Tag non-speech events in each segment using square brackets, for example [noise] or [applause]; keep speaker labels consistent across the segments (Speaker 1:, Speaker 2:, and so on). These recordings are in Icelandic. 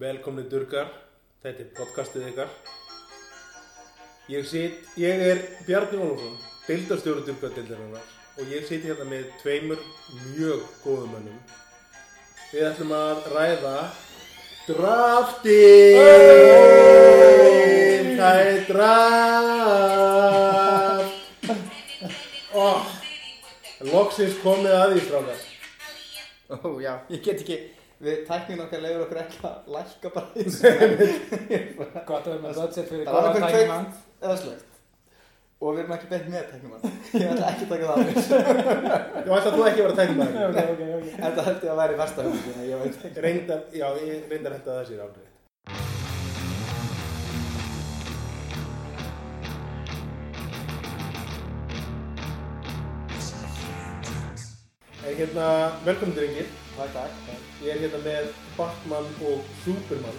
Speaker 1: Velkomni Durgar, þetta er podcastið ykkar. Ég sit, ég er Bjarni Ólafsson, deildarstjóru Durgar-deildarinnar og ég sit hérna með tveimur mjög góðum mönnum. Við ætlum að ræða draftin! Það er draft! Oh, loksins komið að því frá það.
Speaker 2: Ó, já, ég get ekki, við tæknum okkar leiður okkur ekki að lækka bara í [laughs] þessu.
Speaker 3: Gott að vera með budget fyrir
Speaker 2: Það var
Speaker 3: góðan
Speaker 2: okkur
Speaker 3: tækjumann.
Speaker 2: kveikt eða slögt. Og við erum ekki beint með tæknumann. [laughs] Ég ætla ekki að taka það af [laughs] þessu.
Speaker 1: Ég ætla að þú ekki að vera tæknum að
Speaker 3: Ok, ok, ok.
Speaker 2: En það held ég að væri versta hugmyndin, ég veit ekki.
Speaker 1: Reyndar, já, ég reyndar þetta að þessi ráðið. En hérna, velkomin drengir,
Speaker 2: Takk, takk, takk.
Speaker 1: ég er hérna með Batman og Superman,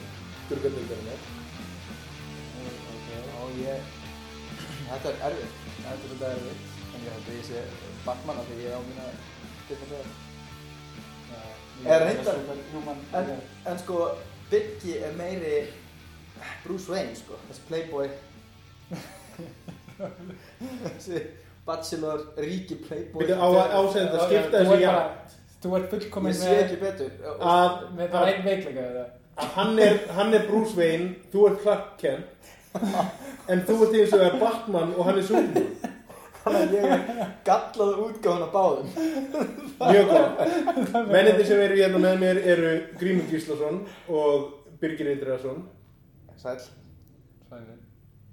Speaker 1: durgandöndarinnar.
Speaker 2: Og ég, þetta er erfitt. Þetta er svolítið erfitt. En ég held að ég sé bakmanna því ég á mína differential. Er reyndar-
Speaker 3: Human.
Speaker 2: En, en sko, Biggie er meiri Bruce Wayne, sko. Þessi playboy. Þessi bachelor, ríki playboy.
Speaker 1: Byrju á að ásenda þetta, skipta
Speaker 3: Þú
Speaker 1: þessu
Speaker 3: ert
Speaker 1: já,
Speaker 3: bara- Þú ert
Speaker 2: Ég
Speaker 3: fullkominn
Speaker 2: sé
Speaker 3: með,
Speaker 2: ekki betur. Ah.
Speaker 1: að,
Speaker 3: með bara einn veikleika við það.
Speaker 1: að hann, er, hann er Bruce Wayne, þú er Clark Kent, en þú ert eins og er Batman og hann er Superman.
Speaker 2: Þannig að ég er gallaða útgáðan af báðum.
Speaker 1: Mjög góð. Mennindi sem eru hérna með mér eru Grímur Gíslason og Birgir Indriðarsson
Speaker 2: Sæl.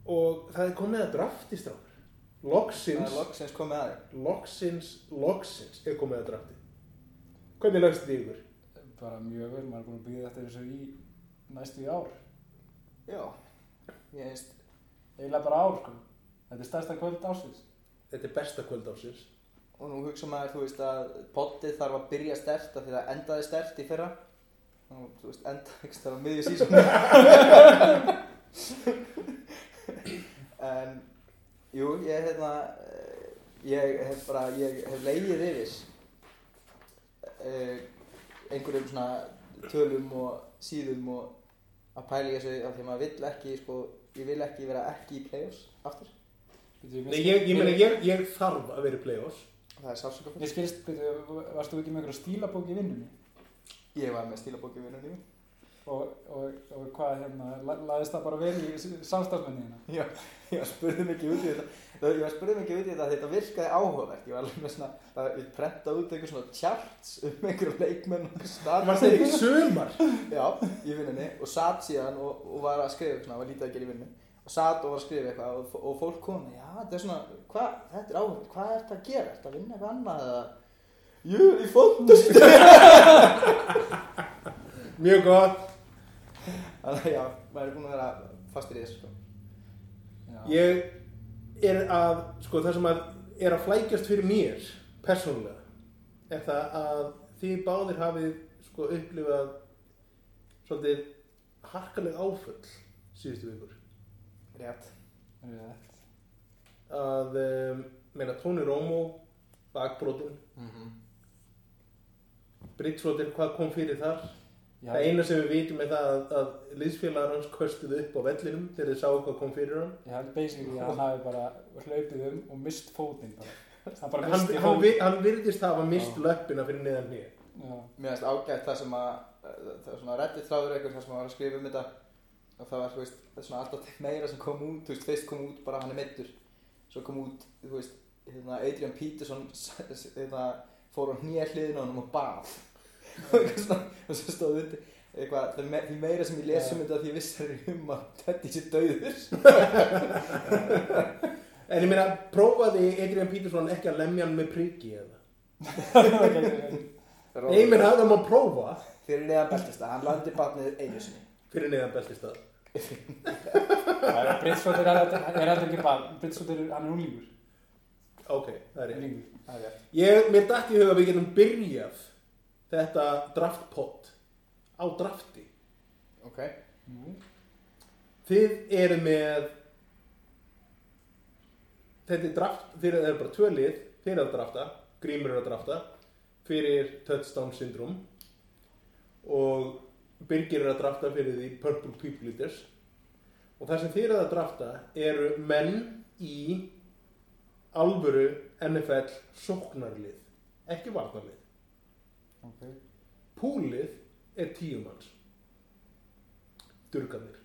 Speaker 1: og það er komið að drafti strákur.
Speaker 2: Það er
Speaker 1: Loksins,
Speaker 2: loksins komið að þig.
Speaker 1: loksins, loksins er komið að drafti. Hvernig lögst þið ykkur?
Speaker 3: Bara mjög vel, maður er búin að býða eftir þessu í næstu í ár.
Speaker 2: Já. Ég finnst,
Speaker 3: Eiginlega bara ár, sko. Þetta er stærsta kvöld ásins.
Speaker 1: Þetta er besta kvöld ásins.
Speaker 2: og nú hugsa maður, þú veist, að pottið þarf að byrja stert af því það endaði stert í fyrra. Og, þú veist, enda, ekki, það var miðjur sísón. en, jú, ég hef hérna, eh, ég hef bara, ég hef leiðið yfir uh, einhverjum svona tölum og síðum og að pæla í þessu af því að maður vill ekki, sko, ég vil ekki vera ekki í play-offs aftur.
Speaker 1: Nei, ég, ég meina, ég, ég þarf að vera í play-offs.
Speaker 2: Það er sálsöka
Speaker 3: Ég skilst, byrju, varst þú ekki með einhverja stílabók í vinnunni?
Speaker 2: Ég var með stílabóki vinnunni mín.
Speaker 3: Og, og, og hvað, hérna, la- lagðist það bara vel í samstafsmenni hérna?
Speaker 2: Já, ég var spurðum ekki út í þetta. Það- Ég var spurðum ekki út í þetta því þetta virkaði áhugavert. Ég var alveg með svona, það, ég prenta út einhver svona charts um einhverju leikmenn og starf.
Speaker 1: Var þetta ekki sömar?
Speaker 2: Já, í vinnunni og satt síðan og, og var að skrifa eitthvað, var lítið að gera í vinnunni. Og satt og var að skrifa eitthvað og, og fólk kom, já, þetta er svona, hva, þetta er áhugavert, hvað er þetta að gera? Þetta að vinna eitthvað annað eða? Jú, ég fóndast þetta.
Speaker 1: Mjög gott.
Speaker 2: Þannig að já, maður er búin að vera fastir í þessu sko.
Speaker 3: Já.
Speaker 1: Ég er að, sko, það sem að er að flækjast fyrir mér, persónulega, er það að þið báðir hafið, sko, upplifað svolítið harkaleg áföll síðustu vikur.
Speaker 2: Rétt.
Speaker 3: Rétt.
Speaker 1: Að, um, meina, Tony Romo, bakbrotin,
Speaker 2: Mm -hmm.
Speaker 1: Bridgewater, hvað kom fyrir þar?
Speaker 3: Já,
Speaker 1: Það eina sem við vitum er það að, að liðsfélagar hans köstuðu upp á vellinum þegar þið sáu hvað kom fyrir hann.
Speaker 3: Ég held basically að hann hafi bara hlaupið um og mist fótinn bara. Hann bara
Speaker 1: Hann,
Speaker 3: misti
Speaker 1: hann,
Speaker 3: fótinn.
Speaker 1: vi- hann virðist hafa mist löppina fyrir neðan nýja.
Speaker 3: Já, [laughs]
Speaker 2: Mér finnst ágætt það sem að eh, það er svona reddit þráður eitthvað sem að var að skrifa um þetta og það var, þú veist, það er svona alltaf meira sem kom út, þú veist, fyrst kom út bara hann er meittur svo kom út, þú veist, hérna Adrian Peterson [laughs] s- s- hérna, fór á hnýja hliðin á hann og bað [laughs] og eitthvað svona, og svo stóð undir eitthvað, það er me því meira sem ég les um þetta því ég vissi það er um að Teddy sé döður
Speaker 1: En ég meina, prófaði Adrian Peterson ekki að lemja hann með priki eða? Nei, ég meina, það má prófa
Speaker 2: fyrir neðan beltist hann landi barnið einu sinni
Speaker 1: fyrir neðan beltistað.
Speaker 3: Britsvotir er alltaf er heldur ekki bara, Britsvotir hann er unlingur.
Speaker 1: Ok, það er ég.
Speaker 3: Unlingur.
Speaker 2: það er rétt
Speaker 1: Ég, mér dætt í huga að við getum byrjað þetta draftpott á drafti.
Speaker 2: ok,
Speaker 3: Nú,
Speaker 1: Þið eru með, þetta er draft, þið eru bara tvö lið, þið eru að drafta, grímur eru að drafta, fyrir touchdown syndrom og Birgir er að drafta fyrir því Purple People Eaters og það sem þeir eru að drafta eru menn í alvöru NFL sóknarlið, ekki varnarlið.
Speaker 3: ok.
Speaker 1: Púlið er tíumanns. Durganir.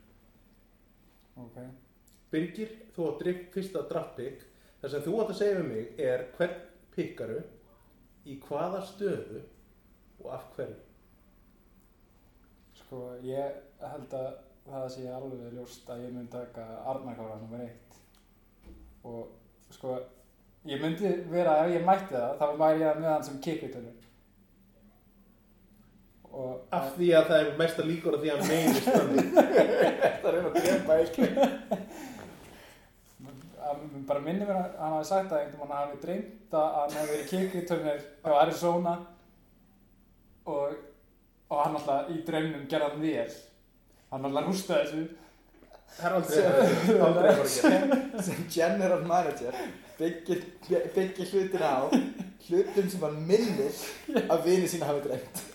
Speaker 3: Ok.
Speaker 1: Birgir, þú átt drif, fyrsta draftpick. Það sem þú átt að segja við mig er hvern pikkaru í hvaða stöðu og af hverju.
Speaker 3: Sko, ég held að það sé alveg ljóst að ég mun taka Arnarkára nummer eitt og sko, ég myndi vera ef ég mætti það, þá væri ég með hann sem kikkutunum og
Speaker 1: Af því að það er mesta líkur að því að hann meginist þannig.
Speaker 2: [laughs] Það er um að grepa ekki.
Speaker 3: að, bara minni mér að hann hafi sagt að einhvern veginn hafi dreymt að hann hefði verið kikkutunir á Arizona og, og hann alltaf í draunum gerði hann vel hann alltaf rústaði þessu
Speaker 1: [laughs] Það er aldrei, aldrei að fara að gera.
Speaker 2: Sem general manager byggir, byggir hlutin á hlutum sem hann minnir að vini sína hafi dreimt.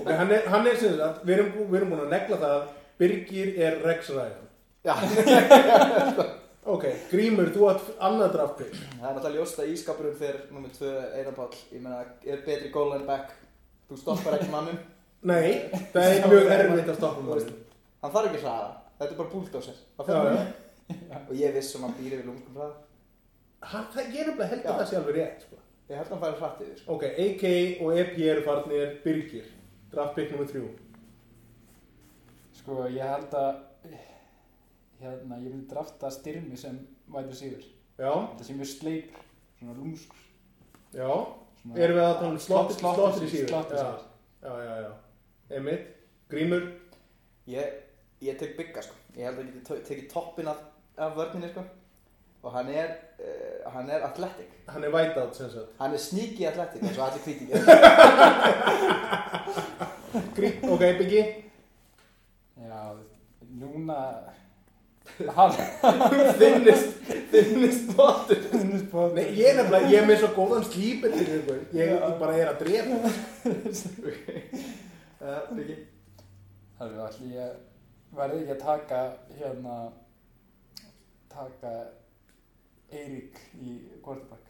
Speaker 1: Ok, hann er, hann er sem sagt, við erum, bú- við erum búin að negla það að Birgir er Rex Ryan.
Speaker 2: Já,
Speaker 1: Ok, Grímur, þú átt annað draftpick.
Speaker 2: það er alltaf ljóst að ískapurum þegar nummið tvö Einar Páll, ég meina, er betri goal en back. Þú stoppar ekki mannum.
Speaker 1: Nei, það er mjög erfitt að stoppa maður.
Speaker 2: Hann þarf ekki að hraða. Þetta er bara búldósir.
Speaker 1: Já,
Speaker 2: Það fyrir
Speaker 1: já.
Speaker 2: hann. Og ég viss sem hann býr yfir lungum hraða.
Speaker 1: Hann, það, ég er nefnilega held að það sé alveg rétt, sko.
Speaker 2: Ég held að hann færi hratt yfir, sko.
Speaker 1: Ok, AK og EP eru farnir Birgir. Draftpick nummer þrjú.
Speaker 3: Sko, ég held að hérna, ég myndi drafta styrmi sem væri síður.
Speaker 1: Já,
Speaker 3: Þetta sem er sleipur, svona lúmskur.
Speaker 1: já. Erum við að tala um slott- slottir í síður?
Speaker 3: Slottir
Speaker 1: Já.
Speaker 3: síður.
Speaker 1: Já, já, já. Emmitt, Grímur,
Speaker 2: Ég, ég tek bygga sko Ég held að ég geti to- tekið toppin af, af vörninni sko Og hann er, uh, hann er athletic
Speaker 1: hann er whiteout sem sagt.
Speaker 2: Hann er sneaky athletic eins og allir kvítingi
Speaker 1: Grí, ok, Biggi.
Speaker 3: Já, núna [laughs] hann
Speaker 1: Þinnist, þinnist bóttur. Nei,
Speaker 3: Nei,
Speaker 1: ég er nefnilega, ég er með svo góðan slípin til ykkur. Ég, ég bara er að drepa.
Speaker 2: Byggi
Speaker 3: Það er allir ég verði ekki að taka hérna taka Eirík í Kortabak.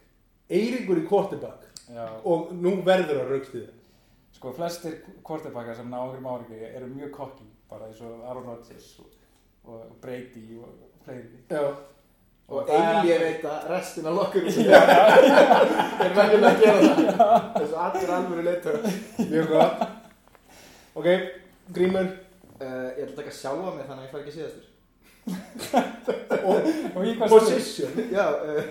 Speaker 1: Eiríkur í quarterback
Speaker 3: Já,
Speaker 1: og nú verður að raukstu þið.
Speaker 3: sko flestir Kortabakar sem ná okkur márikir eru mjög kokki bara eins og Aaron Rodgers og, og Brady og fleiri.
Speaker 1: Já.
Speaker 2: Og
Speaker 3: það er
Speaker 2: Eili ég
Speaker 3: alveg-
Speaker 2: veit að restin af [laughs] lokkur
Speaker 3: Já,
Speaker 2: Er
Speaker 3: já,
Speaker 2: verðin að gera [laughs] það Eins og allir alvöru leitur uh,
Speaker 1: Mjög gott. Ok, Grímur
Speaker 2: Ég ætla að taka sjálfa mig þannig að ég fær ekki síðastur
Speaker 1: og
Speaker 3: og í hvað stund
Speaker 1: position.
Speaker 2: Já, uh,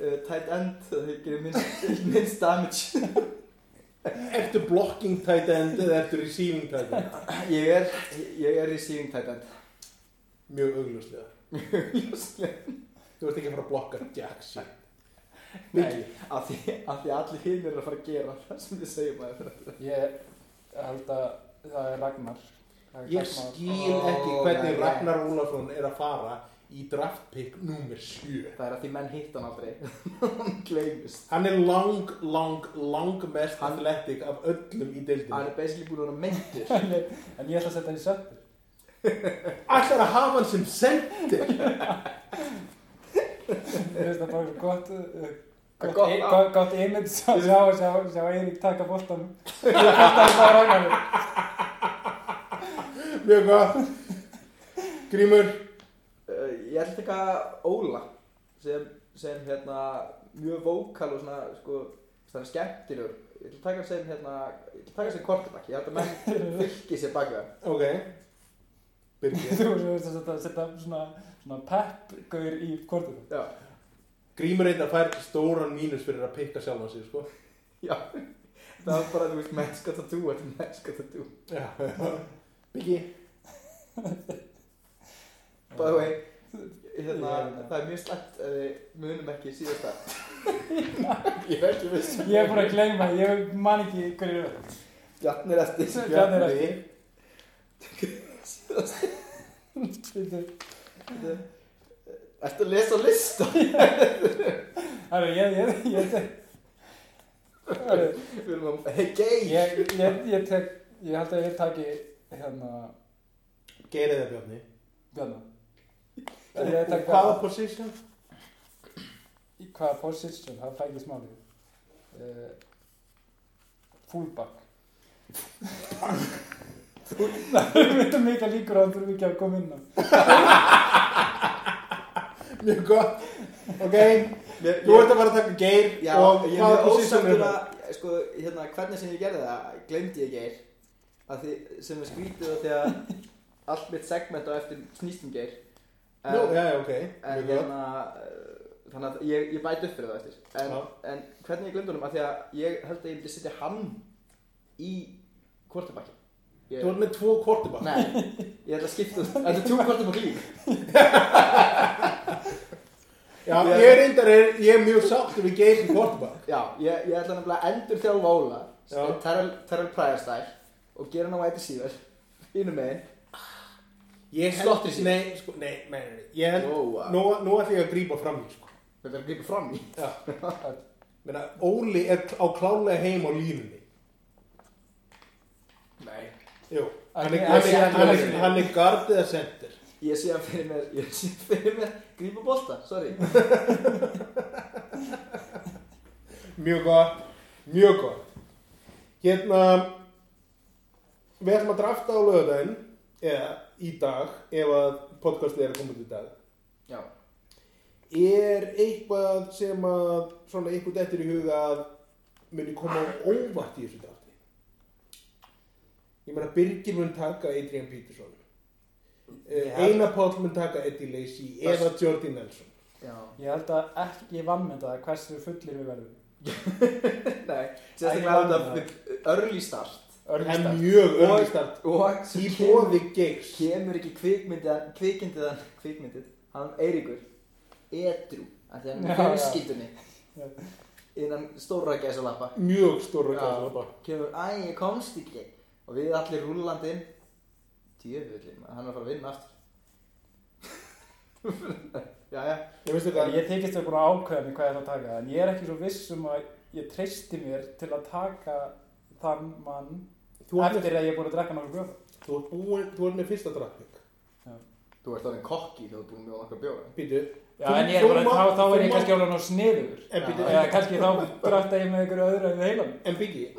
Speaker 2: uh, tight end Það gerir minnst, [laughs] minnst damage
Speaker 1: Ertu blocking tight end eða ertu receiving tight end?
Speaker 2: Ég er, ég er receiving tight [laughs] end
Speaker 1: Mjög augljóslega.
Speaker 2: Ljóslega
Speaker 1: Þú ert ekki að fara að blokka Jack shit.
Speaker 3: Nei.
Speaker 2: af því, af því allir hinn eru að fara að gera það sem við segjum að það
Speaker 3: Ég held að það er Ragnar Það er
Speaker 1: Ég
Speaker 3: Ragnar.
Speaker 1: skil
Speaker 2: Ó,
Speaker 1: ekki hvernig
Speaker 2: nei, nei.
Speaker 1: Ragnar Ólafsson er að fara í draft pick nummer 7.
Speaker 2: það er að því menn hitt hann aldrei [laughs] hann gleymist
Speaker 1: Hann er lang, lang, lang mest
Speaker 2: Hann-
Speaker 1: athletic af öllum í deildinu.
Speaker 2: hann er basically búin að vera meintur
Speaker 3: En ég- en ég ætla að setja hann í söppu
Speaker 1: Ætlar að hafa hann sem sendir.
Speaker 3: Mér finnst það bara svo gott uh,
Speaker 2: Gott
Speaker 3: Gott, e-
Speaker 2: nafn.
Speaker 3: gott, gott
Speaker 2: [laughs]
Speaker 3: image að sjá, sjá, sjá Eirík taka boltan [laughs] Boltan frá Ragnar [laughs]
Speaker 1: Mjög gott. Grímur,
Speaker 2: uh, ég ætla að taka Óla sem, sem hérna mjög vókal og svona sko það er skemmtilegur ég ætla að taka hann sem hérna ég ætla að taka hann sem kortabak ég held að menn fylgi sér bak við hann
Speaker 1: ok. Birgir.
Speaker 3: Þú veist að setja, setja svona, svona peppgaur í kortinu
Speaker 2: já
Speaker 1: Grímur reyndar fær stóran mínus fyrir að pikka sjálfan sig, sko.
Speaker 2: já það var bara þú veist mennska tattoo þetta er mennska tattoo
Speaker 1: Já. Biggi.
Speaker 2: by the way hérna
Speaker 3: Já.
Speaker 2: það er mjög slæmt að við munum ekki síðasta ég er ekki viss
Speaker 3: [laughs] Ég er búin að gleyma, ég man ekki hverju
Speaker 2: Bjarni er eftir
Speaker 3: Bjarni er eftir. Herru,
Speaker 2: Ertu að lesa lista?
Speaker 3: ég, ég, ég Herru,
Speaker 2: Við erum að Hey gay
Speaker 3: ég, ég, ég tek, ég held að ég taki hérna,
Speaker 1: Geir eða Bjarni
Speaker 3: Bjarnar. Er ég að taka
Speaker 1: Hvaða position?
Speaker 3: Í hvaða position, það fækist málið. Uh,
Speaker 1: [laughs]
Speaker 3: fullback. Það er mjög mikla líkur á að hann þurfi ekki að koma inn á.
Speaker 1: Mjög gott Ok,
Speaker 2: Ég-
Speaker 1: þú ert að fara að taka Geir
Speaker 2: Já,
Speaker 1: og
Speaker 2: ég
Speaker 1: hvaða
Speaker 2: er
Speaker 1: position er
Speaker 2: ósamtur
Speaker 1: það?
Speaker 2: að, sko, hérna, hvernig sem ég gerði það, glemdi ég geir. Að því, sem er skrítið að því að allt mitt segment á eftir snýst um geir. En,
Speaker 1: Nú, já, já, ok,
Speaker 2: en
Speaker 1: mjög gott
Speaker 2: hérna, eh, þannig að ég, ég bæti upp fyrir það eftir. En,
Speaker 1: Já.
Speaker 2: en hvernig ég glemdi honum, að því að ég held að ég myndi setja hann í kvortabakki.
Speaker 1: Þú ert með tvo quarterback
Speaker 2: Nei, ég ætla að skipta út. Þetta er tjú kvortabakki lík.
Speaker 1: Já, ég reyndar er, ég er mjög sáttur við Geir sem quarterback
Speaker 2: Já, ég, ég ætla nefnilega að endur þjálfa Óla
Speaker 1: Já.
Speaker 2: Terrell, Terrell Pryorstyle og gera hann á White Receiver Ínu megin
Speaker 1: Ég held,
Speaker 2: Slottri sín.
Speaker 1: nei, sko, nei, nei, nei, nei Ég held,
Speaker 2: Jóa.
Speaker 1: nú, nú ætlum ég að grípa fram í, sko
Speaker 2: Við verðum að gripa fram í
Speaker 1: Já, menna, Óli er á klálega heim á línunni
Speaker 2: Nei
Speaker 1: Jú, hann
Speaker 3: Ég-
Speaker 1: er, hann er,
Speaker 3: ég- ég-
Speaker 1: hann er,
Speaker 3: ég-
Speaker 1: hann er gard eða center
Speaker 2: Ég sé að fyrir mér, ég sé að fyrir mér grípa bolta, sorry
Speaker 1: Mjög gott, mjög gott Hérna, við ætlum að drafta á lögudaginn eða í dag, ef að podcastið er að koma út í dag
Speaker 2: Já,
Speaker 1: er eitthvað sem að svona eitthvað dettur í huga að muni koma á óvart í þessu drafti ég meina Birgir mun taka Adrian Peterson Eh, Einar Páll mun taka Eddie Lacey eða Jordi Nelson
Speaker 2: já
Speaker 3: Ég held að ekki vammynda hversu fullir við verðum.
Speaker 2: Nei,
Speaker 3: Æ,
Speaker 2: sérstaklega
Speaker 3: ég
Speaker 2: að
Speaker 3: man
Speaker 2: þetta við early start
Speaker 1: en
Speaker 3: Örgustart.
Speaker 1: mjög
Speaker 2: Og-
Speaker 1: öllistart
Speaker 2: Og sem
Speaker 1: í
Speaker 2: kemur,
Speaker 1: bóði geirs
Speaker 2: kemur ekki kvikmyndið, kvikmyndið, kvikmyndið Hann Eiríkur, edru Af því hann
Speaker 3: Já,
Speaker 2: er fjölskyldunni
Speaker 3: já.
Speaker 2: Innan stóra gæsa lappa
Speaker 1: mjög stóra
Speaker 2: Já.
Speaker 1: gæsa
Speaker 2: kemur, æ, ég komst ekki og við allir rúllandi inn djöfullin, maður, hann er að fara að vinna aftur [laughs] já, já,
Speaker 1: ég veistu hvað
Speaker 3: Ég þykist að búin að ákveða mig hvað ég ætla að taka, en ég er ekki svo viss um að ég treysti mér til að taka þann mann
Speaker 1: þú ert með-
Speaker 3: eftir að ég er búin að drekka nokkuð bjóða.
Speaker 1: þú ert búinn- þú ert með fyrsta drafting
Speaker 2: þú ert orðin kokki þegar þú ert búin með okkur bjóra
Speaker 1: býtu
Speaker 3: Já,
Speaker 1: Þú-
Speaker 3: en ég
Speaker 1: þú
Speaker 3: er bara,
Speaker 1: mátt-
Speaker 3: þá, þá
Speaker 1: þú
Speaker 3: er ég
Speaker 1: mátt-
Speaker 3: kannski alveg ná sniður.
Speaker 1: en býtu
Speaker 3: Eða kannski þá drafta ég með ykkur öðru en heilan.
Speaker 1: en byggi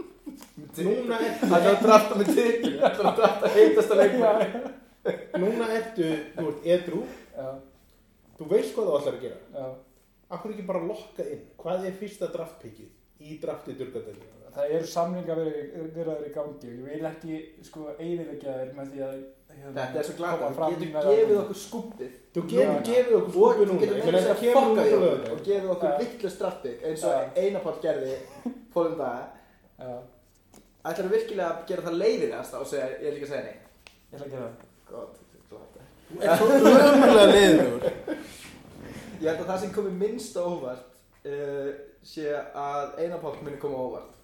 Speaker 1: núna er
Speaker 2: það er að drafta með titil það er að drafta heitast að leikma
Speaker 1: Núna ertu, þú ert edru,
Speaker 3: Já,
Speaker 1: þú veist hvað þú ætlar að gera.
Speaker 3: já.
Speaker 1: Akkur ekki bara lokka inn, hvað er fyrsta draftpikið í drafti durgadeldina?
Speaker 3: Það eru samlingar verður í gangi og ég vil ekki sko eigðilegja þér með því að hérna,
Speaker 2: þetta er svo glæð
Speaker 3: koma
Speaker 2: að
Speaker 3: fram
Speaker 2: þú
Speaker 3: með
Speaker 2: getur
Speaker 3: að-
Speaker 2: gefið okkur skúpið
Speaker 1: Þú gefur,
Speaker 3: Núna.
Speaker 1: gefur okkur
Speaker 2: og
Speaker 1: skúpi
Speaker 2: þú
Speaker 1: núna,
Speaker 2: getur
Speaker 1: ég
Speaker 2: með
Speaker 1: meina
Speaker 2: þess
Speaker 1: það
Speaker 2: að
Speaker 1: kemur
Speaker 2: fokka
Speaker 1: núna
Speaker 2: í okkur og
Speaker 1: lögðan.
Speaker 2: gefið okkur
Speaker 3: Já.
Speaker 2: vittlust draftið eins
Speaker 3: Já.
Speaker 2: og Einarpál gerði fólum daga
Speaker 3: Já,
Speaker 2: ætlar þú virkilega að gera það leiðilegast og segja, ég er líka að segja nei
Speaker 3: ég ætla að gera það.
Speaker 2: gott, gott
Speaker 1: Þú ert svo ömulega leiður.
Speaker 2: Ég held að það sem komi minnst á óvart uh, sé að einapátt muni koma á óvart.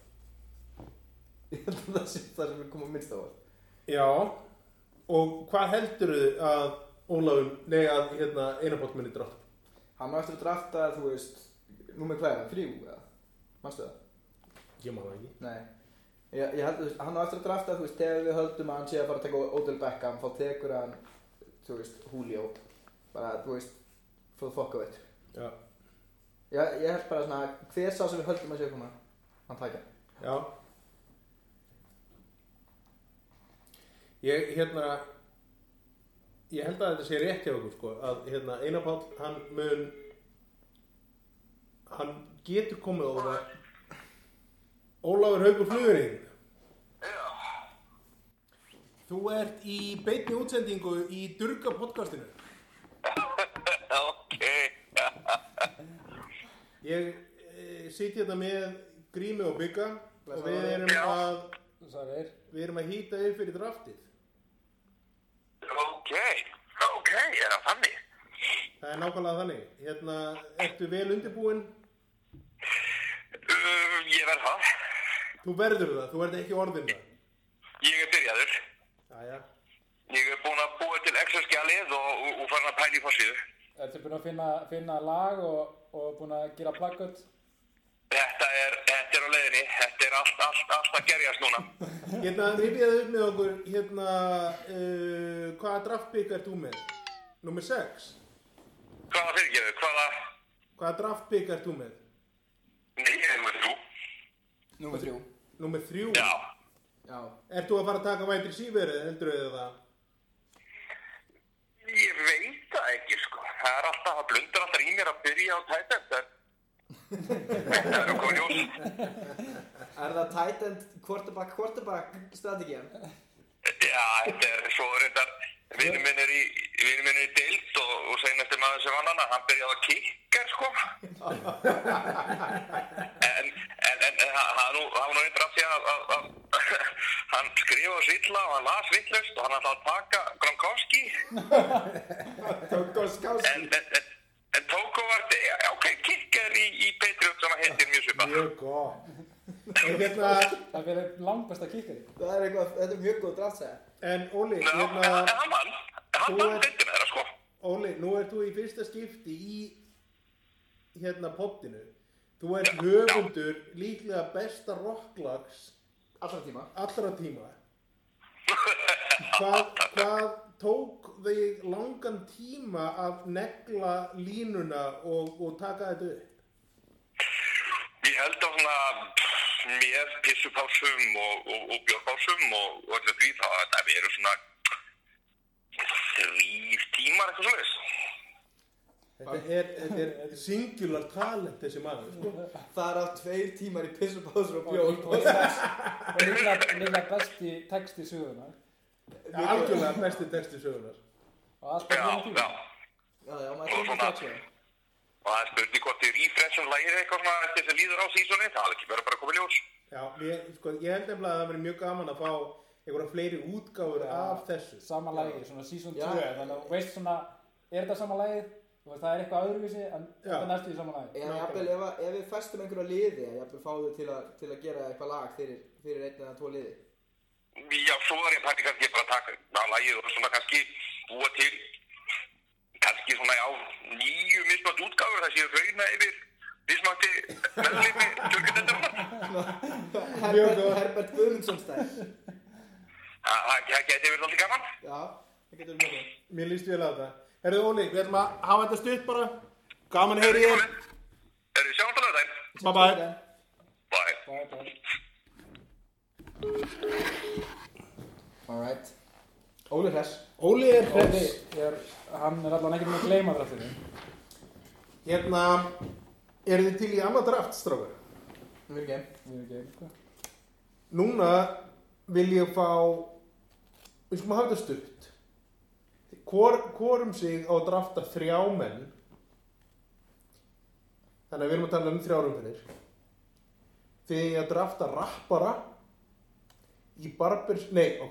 Speaker 2: Ég held að það sé það sem muni koma minnst á óvart.
Speaker 1: Já, og hvað heldurðu að Ólafur, nei að hérna, einabótt minni draft?
Speaker 2: Hann á eftir að drafta, þú veist, númer hvað er hann? Þrjú eða? Manstu það?
Speaker 1: Ég maður ekki.
Speaker 2: Nei. Ég, ég held að þú veist, hann á eftir að drafta, þú veist, þegar við höldum að hann sé að fara að taka Odell Beckham, þá tekur hann, þú veist, Julio. Bara, þú veist, for the fuck of it.
Speaker 1: Já,
Speaker 2: Ég, ég held bara svona, hver sá sem við höldum að sé að koma, hann taka.
Speaker 1: já. Ég, hérna, ég held að þetta sé rétt hjá okkur, sko, að hérna, Einar Páll, hann mun, hann getur komið á það. Ólafur Haugur Flugurinn. Þú ert í beinni útsendingu í Durga podcastinu.
Speaker 4: ok,
Speaker 1: Ég e, sitja þetta með Grími og Bygga og við erum
Speaker 4: Já.
Speaker 1: að,
Speaker 3: Sælir.
Speaker 1: við erum að hýta upp fyrir draftið.
Speaker 4: ok, ok, er það þannig?
Speaker 1: Það er nákvæmlega þannig. Hérna, ertu vel undirbúinn?
Speaker 4: Um, ég verð það,
Speaker 1: Þú verður það, þú ert ekki orðinn það.
Speaker 4: ég er byrjaður,
Speaker 1: Jæja.
Speaker 4: ég er búinn að búa til exaskjalið og, og, og farin að pæla í fórsíðu.
Speaker 3: Ertu búin að finna, finna lag og, og búin að gera plakkut?
Speaker 4: Þetta er, þetta er á leiðinni,
Speaker 5: Benni, þetta er allt, allt, allt að gerjast núna.
Speaker 1: Hérna, rifjaðu upp með okkur, hérna, uh, hvaða draftbygg ert þú með? Númer 6.
Speaker 5: Hvaða fyrirgeðu, hvaða...
Speaker 1: Hvaða draftbygg ert þú með?
Speaker 5: Nei, ég er með þú.
Speaker 2: Númer þrjú.
Speaker 1: Númer 3.
Speaker 5: Já.
Speaker 2: Já.
Speaker 1: Ert þú að fara að taka vætri síverið, heldur þau það?
Speaker 5: Ég veit það ekki, sko. Það er alltaf, það blundar alltaf í mér að byrja á tætt eftir. Það er okkur ljós.
Speaker 2: Er það tight end quarterback quarterback strategían?
Speaker 5: Já, þetta er svo reyndar... Vinnu minn er í, vinnu minn er í deild og, og seinasti maður sem vann hana, hann byrjaði að kikka, sko. En, en, en en það það er nú, það var nú reyndar af því að, að, að [laughs] hann skrifaði svilla og hann las villust og hann ætlaði að taka Gronkowski
Speaker 2: Tókar
Speaker 5: en,
Speaker 2: skási.
Speaker 5: en, en, en Tóko var já, ok, kirkjar í, í Patriot sem að heitir mjög svipa
Speaker 1: Mjög gott. En hérna,
Speaker 3: Það er langbæst að kikka þig.
Speaker 2: Það er eitthvað, þetta er mjög góð draftsæða.
Speaker 1: en Óli,
Speaker 5: en en
Speaker 1: hérna,
Speaker 5: hann vann hann
Speaker 1: Þú
Speaker 5: vann
Speaker 1: ert-
Speaker 5: deildina þeirra sko
Speaker 1: Óli, nú ert þú í fyrsta skipti í hérna poptinu. Þú ert höfundur líklega besta rocklags
Speaker 2: Allra tíma.
Speaker 1: allra tíma. Hvað, hvað tók þig langan tíma að negla línuna og, og taka þetta upp?
Speaker 5: ég held á svona pff, mér pissupásum og, og, og björpásum og, og öllu því þá að það veru svona þrýr tímar eitthvað svoleiðis
Speaker 1: Þetta er, þetta er singular talent þessi maður, sko.
Speaker 2: Það er á tveir tímar í pissupásur og
Speaker 3: Og
Speaker 2: bjór.
Speaker 3: líka- og
Speaker 2: [laughs]
Speaker 3: líka- og líka- líka besti texti sögunar.
Speaker 1: Ja, algjörlega besti texti sögunar.
Speaker 3: Og allt
Speaker 5: já,
Speaker 3: á hinn
Speaker 5: já
Speaker 3: tíma.
Speaker 2: Já, já, maður er tíma strategían.
Speaker 5: og það er spurning hvort þið refreshum lærið eitthvað svona eftir sem líður á sísoni það er ekki verið bara að koma í ljós
Speaker 1: Já, ég, sko, ég held nefnilega að það verið mjög gaman að fá einhverja fleiri útgáfur af þessu.
Speaker 3: Sama lagi, svona season 2.
Speaker 2: Já.
Speaker 3: Þannig að þú veist svona, er þetta sama lagið? Þú veist, það er eitthvað öðruvísi, en þetta er næstu í sama lagið.
Speaker 2: Eða jafnvel, ef, að- ef við festum einhverja liði, eða jafnvel fáum við til, að- til að gera eitthvað lag fyrir, fyrir einn eða tvo liði.
Speaker 5: Já, svo er ég pæti kannski bara að taka á lagið og svona kannski búa til kannski svona á nýju mismætt útgáfur það séu hrauna yfir mismætti meðlimi tjörgjöndendur.
Speaker 2: [laughs] Herbert,
Speaker 1: góð.
Speaker 2: Herbert Guðmundsson stæð.
Speaker 5: Það það gæti verið alltaf gaman.
Speaker 2: Já, það getur við mjög góð.
Speaker 1: Mér líst vel á þetta. Herðu Óli, við ætlum að hafa þetta stutt bara. Gaman heyri ég.
Speaker 5: Erum við sjáumst á lögðaðinn?
Speaker 1: Bye bye.
Speaker 5: Bye.
Speaker 3: Það er bara...
Speaker 2: Alright. Óli Hress.
Speaker 1: Óli er
Speaker 3: Óli,
Speaker 1: hress.
Speaker 3: ég er, hann er allan ekkert með að gleyma draftinu.
Speaker 1: Hérna, eru þið til í annað draft, strákur?
Speaker 2: Við erum geim.
Speaker 3: Ég veit ekki hvað.
Speaker 1: Núna vil ég fá, við skulum hafa þetta stutt. Hvor, hvorum sig á að drafta þrjá menn. Þannig að við erum að tala um þrjárum fyrir. Þið eigið að drafta rappara í barbers, nei, ó,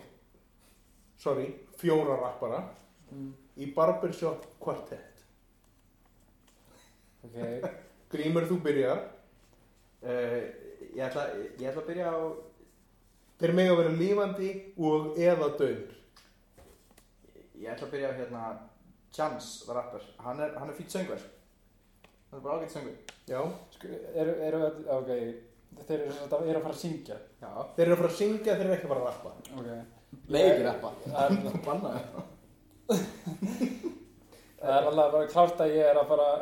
Speaker 1: sorry, fjóra rappara
Speaker 2: Mm.
Speaker 1: í barbershop quartet.
Speaker 3: Ok,
Speaker 1: Grímur, þú byrjar.
Speaker 2: Uh, ég, ætla, ég ætla að byrja á
Speaker 1: Þeir mega vera lífandi og eða döður.
Speaker 2: ég ætla að byrja á hérna Chance, the rapper, hann er, hann er fýtt söngur hann er bara ágætt söngur
Speaker 1: Já.
Speaker 3: Sko, eru, eru, öll- ok, þeir eru, sem sagt að- eru að fara að syngja.
Speaker 2: já,
Speaker 1: Þeir eru að fara að syngja, þeir eru ekki að fara að rappa.
Speaker 3: Ok.
Speaker 2: Megi ekki rappa.
Speaker 3: Það er-
Speaker 2: [laughs] banna það
Speaker 3: Það er alveg bara klárt að ég er að fara að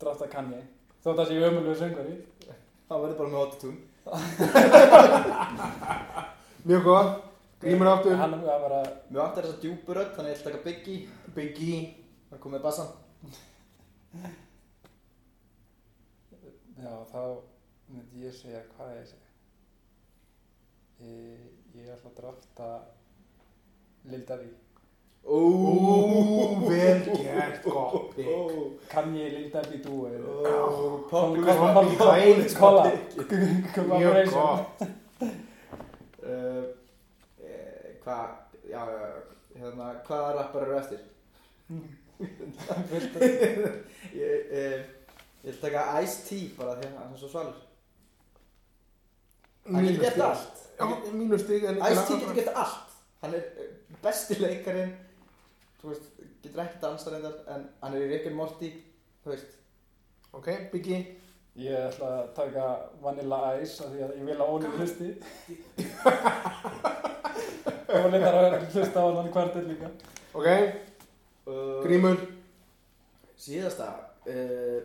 Speaker 3: drafta kanni. Þó það sé ég ömulegu söngari.
Speaker 2: hann verður bara með [laughs] autotune
Speaker 1: Mjög góð. Grímur aftur.
Speaker 3: Hann er bara,
Speaker 2: mjög aftur þess að djúpur öll, þannig að ég ætla að taka Biggie
Speaker 1: Biggie.
Speaker 2: hann kom með bassan
Speaker 3: já, þá myndi ég segja, hvað er ég að segja? Ég, ég ætla að drafta Lil Daví.
Speaker 1: Ú, vel gert, gott pick.
Speaker 3: Kanni Lil Daví dúi.
Speaker 1: Popúlisma- popúlisma-
Speaker 3: Kolla.
Speaker 1: Mjög
Speaker 3: Collaboration.
Speaker 1: gott.
Speaker 2: Eh, hvað já, já, já, hérna, hvaða rappar eru eftir
Speaker 3: Fullt af-
Speaker 2: [laughs] ég, uh, ég ætla að taka Ice-T bara því að hann er svo svalur hann getur gert allt
Speaker 1: Mínu stig. en-
Speaker 2: Ice-T getur gett allt hann er eh, besti leikarinn þú veist, getur ekki dansa reyndar en hann er í Rick and Morty þú veist,
Speaker 1: Ok, Biggie.
Speaker 3: Ég ætla að taka Vanilla Ice af því að ég vil að Óli hlusti. Óli þarf að hlusta á hann kvartir líka.
Speaker 1: Ok, Grímur
Speaker 2: Síðasta uh,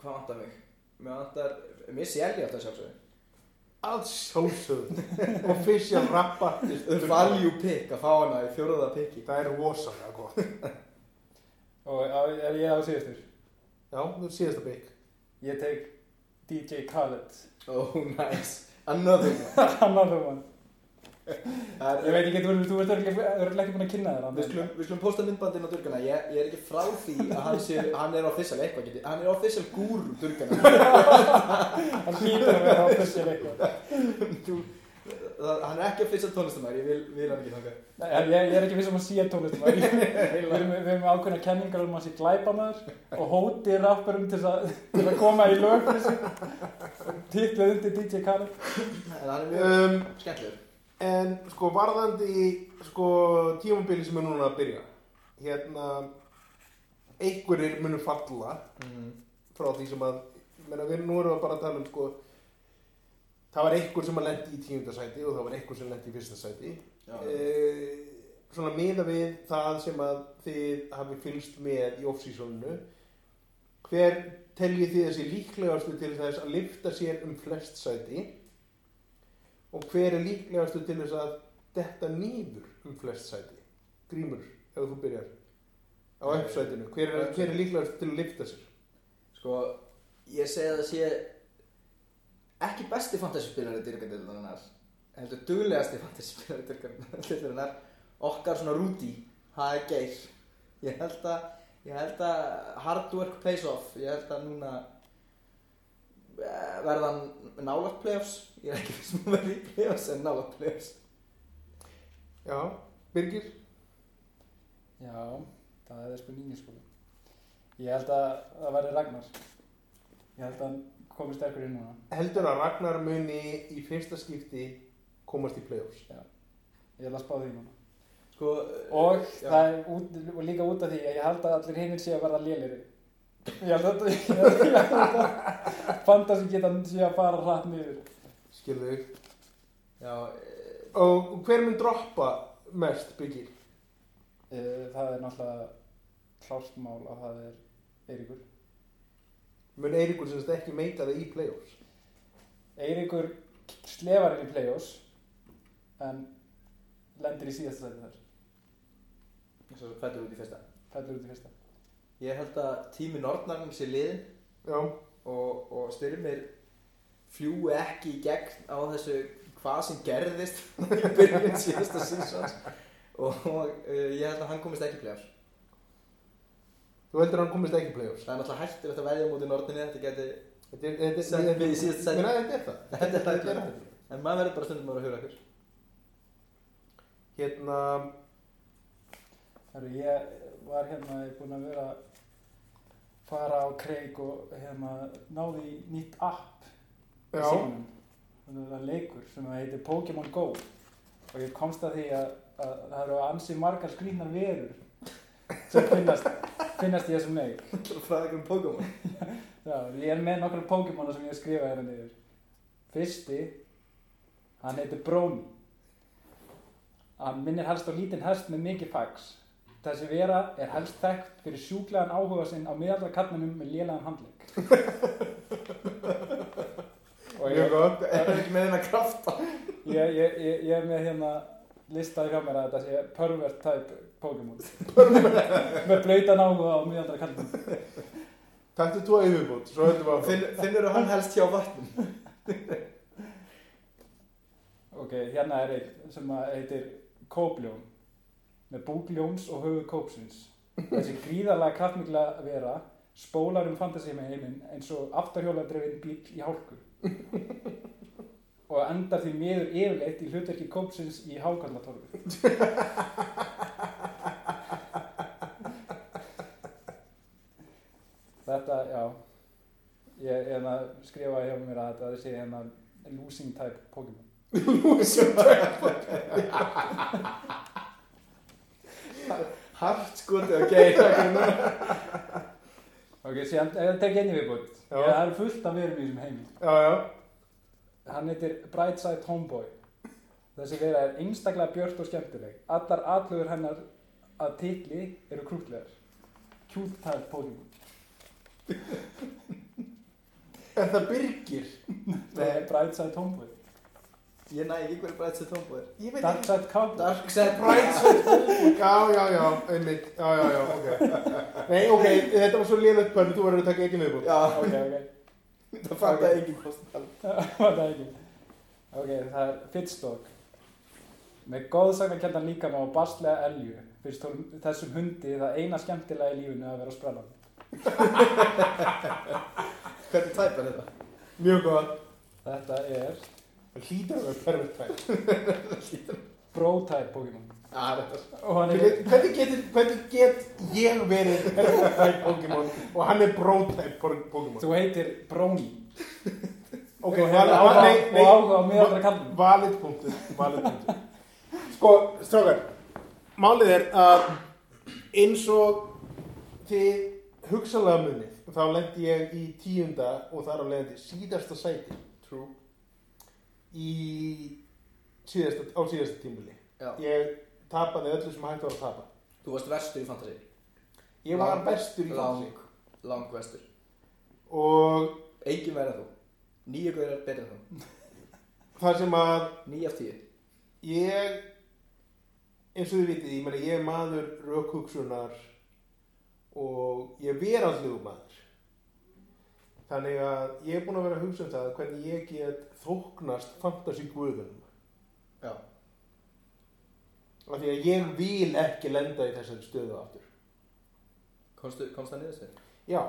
Speaker 2: Hvað vantar mig? Mér vantar, mér sé elgi alltaf sjálfsögðu
Speaker 1: að sjálfsögðu [laughs] official rap artist
Speaker 2: Value pick að fá hana í fjóruða picki
Speaker 1: það er rosalega gott
Speaker 3: Og á- er ég á síðastur?
Speaker 1: já, þú síðast að bygg
Speaker 3: Ég tek DJ Khaled. [laughs]
Speaker 2: Oh nice, another one
Speaker 3: Hann var það mann.
Speaker 2: Það
Speaker 3: Ég
Speaker 2: er-
Speaker 3: veit ekki, þú þú ert örugglega örugglega ekki búin að kynna þér hann.
Speaker 2: Við skulum, við skulum posta myndbandin á durgana, ég, ég er ekki frá því að hann, sé, hann er official eitthvað, geti, hann er official gúru durgana.
Speaker 3: Hann hlýtur að vera á fyrstjál eitthvað.
Speaker 2: Þú, það, hann er ekki official tónlistamæður, ég vil, vil hann ekki þangað.
Speaker 3: Nei, en ég, ég er ekki viss um að sé tónlistum. Við [laughs] erum við erum með ákveðna kenningar um að sé glæpamaður og hóti rapparum til að, til að koma í lög fyrir sig. Titluð undir DJ Khaled.
Speaker 2: En hann er mjög
Speaker 1: um,
Speaker 2: skemmtilegur.
Speaker 1: en sko varðandi sko tímabili sem er núna að byrja hérna einhverjir munum falla
Speaker 3: Mm.
Speaker 1: frá því sem að menna, við nú erum við bara að tala um sko það var einhver sem að lendi í tíundasæti og það var einhver sem lendi í fyrsta sæti
Speaker 2: Já.
Speaker 1: uh, svona miða við það sem að þið hafi fylgst með í off-seasoninu hver teljið þið þessi líklegastu til þess að lifta sér um flest sæti og hver er líklegastu til þess að detta nýður um flest sæti grímur, ef þú byrjar á uppsætinu, hver er, hver er líklegastu til að lifta sér
Speaker 2: Sko, ég segi að það sé ekki besti fantasyspilari dyrkadildarinnar, heldur duglegasti fantasyspilari dyrkadildarinnar, okkar svona Rúdi, það er geir. Ég held að, ég held að hard work pays off, ég held að núna eh, verða hann nálagt playoffs, ég er ekki fyrst maður verði í playoffs en nálagt playoffs.
Speaker 1: já, Birgir
Speaker 3: Já, það er spurningin sko. Ég held að það verði Ragnar. Ég held að hann komi sterkur inn núna.
Speaker 1: heldur að Ragnar muni í fyrsta skipti komast í play-offs
Speaker 3: Ég held að spá því núna.
Speaker 2: Sko,
Speaker 3: Og
Speaker 2: Já.
Speaker 3: það er út, og líka út af því að ég held að allir heiminn sé að verða léliri. Ég held að, [laughs] ég held að- ég held að fanta sem geta sé að fara hratt niður.
Speaker 1: skilðu
Speaker 2: já, eh,
Speaker 1: og hver mun droppa mest Birgir
Speaker 3: Eh, Það er náttúrulega klárt mál að það er Eiríkur.
Speaker 1: mun Eiríkur sem sagt ekki meita það í play-offs
Speaker 3: Eiríkur slefar inn í play-offs en lendir í síðasta sæti þar.
Speaker 2: eins og fættur út í fyrsta.
Speaker 3: Fellur út í fyrsta.
Speaker 2: Ég held að tími nornarinn sé liðin.
Speaker 1: já,
Speaker 2: og, og styrmir fljúi ekki í gegn á þessu hvað sem gerðist í byrjun síðasta sísons og uh, ég held að hann komist ekki í playoffs
Speaker 1: þú heldur að hann komist ekki í play-offs
Speaker 2: það er náttúrulega hættilegt að verja móti nortinni þetta geti,
Speaker 1: þetta er þetta er-
Speaker 2: Sætt við í síðasta sæti.
Speaker 1: Ég meina, þetta er það
Speaker 2: þetta er
Speaker 1: Þetta er
Speaker 2: hættilegt
Speaker 1: það.
Speaker 2: en maður verður bara stundum að vera að höra [laughs] ykkur
Speaker 1: hérna,
Speaker 3: Herru, ég var hérna, ég er búinn að vera að fara á kreik og hérna náði í nýtt app í
Speaker 1: já
Speaker 3: símanum. Þannig að það er leikur sem að heitir Pokémon Go og ég komst að því að, að það eru ansi margar skrýtnar verur sem finnast, finnast í þessum leik.
Speaker 2: Ætlarðu að fræða ykkur um Pokémon
Speaker 3: Já, ég er með nokkra Pokémona sem ég hef skrifað hérna niður. Fyrsti, hann heitir Brony. Hann minnir helst á lítinn hest með mikið fax. Þessi vera er helst þekkt fyrir sjúklegan áhuga sinn á miðaldra kallmennum með lélegan handlegg. Og
Speaker 1: mjög
Speaker 3: ég,
Speaker 1: gott
Speaker 2: er það ekki með hennar krafta
Speaker 3: ég, ég, ég, ég er með hérna listaði hjá mér að þetta sé pervert type Pokémon. [laughs] með blöytan áhuga á miðaldra kallmennum.
Speaker 1: takk til tvo yfirbútt svo heldur við að
Speaker 2: Finn, finnur hann helst hjá vatnum
Speaker 3: Ok, hérna er einn sem að heitir Kópljón með búk ljóns og höfu kópsins þessi gríðalega kraftmikla vera spólar um fantasy með heiminn eins og aftarhjóladrefin bíl í hálku og endar því miður yfirleitt í hlutverki kópsins í hákallatorfu Þetta, já ég, ég skrifa hjá mér að þetta sé hérna losing type Pokémon
Speaker 2: hart skotið að geira
Speaker 3: Ok, síðan eh, ef það tekja einnig viðbútt.
Speaker 1: Já.
Speaker 3: Það er fullt af verum í þessum heimi.
Speaker 1: [laughs] Já, já.
Speaker 3: Hann heitir Brightside Homeboy. Þessi vera er einstaklega björt og skemmtileg. Allar atlugur hennar að titli eru krútlegar. Cute type Pokémon.
Speaker 2: Er það Birgir?
Speaker 3: Það er Brightside Homeboy.
Speaker 2: Ég næ ekki hverju bræðsett tónbúðir.
Speaker 1: Ég veit ekki.
Speaker 3: Darkside Cowboy.
Speaker 2: Darkside
Speaker 1: Brightside Homeboy. Já, já, já, einmitt. Já, já, já, ok. Nei, ok, þetta var svo liðlegt pönn, þú verður að taka eitt í miðbúr.
Speaker 2: Já,
Speaker 3: Ok, ok. [laughs]
Speaker 2: það fann það enginn kost.
Speaker 3: Var það ekki? Ok, það er Fitstock. Með góðsagnarkendan líkama og barslega elju finnst hún- þessum hundi það eina skemmtilega í lífinu að vera sprellan.
Speaker 2: Hvernig tæpa þetta?
Speaker 1: Mjög góð.
Speaker 3: Þetta er
Speaker 1: Það hlýtar að vera pervert pæl.
Speaker 3: Bro-type Pokémon.
Speaker 2: Já, þetta er
Speaker 3: Og hann er...
Speaker 1: Hvernig getur, hvernig get ég verið pervert pæl Pokémon og hann er brótæp Pokémon?
Speaker 3: Þú heitir Brony.
Speaker 1: Ok,
Speaker 3: og hefur áhuga- og áhuga á miðaldra karlmenn.
Speaker 1: Valid punktur, valid punktur. Sko, strákar, málið er að eins og þið hugsalega munið, þá lendi ég í tíunda og þar á leiðandi síðasta sæti
Speaker 2: true.
Speaker 1: í síðasta, á síðasta tímuli.
Speaker 2: Já.
Speaker 1: Ég tapaði öllu sem hægt var að tapa.
Speaker 2: Þú varst verstur í fantasy.
Speaker 1: Ég var bestur í
Speaker 2: Lang,
Speaker 1: fantasy
Speaker 2: lang verstur.
Speaker 1: og
Speaker 2: Engin verið þú. Nýja gaurar betur en þú.
Speaker 1: það sem að
Speaker 2: Nýja af tíu.
Speaker 1: ég eins og þið vitið, ég meina ég er maður rökhugsunar og ég er verandlegu maður þannig að ég er búinn að vera að hugsa um það hvernig ég get þóknast fantasi guðunum
Speaker 2: Já.
Speaker 1: af því að ég vil ekki lenda í þessari stöðu aftur
Speaker 2: Komstu, komst það niður sér?
Speaker 1: já,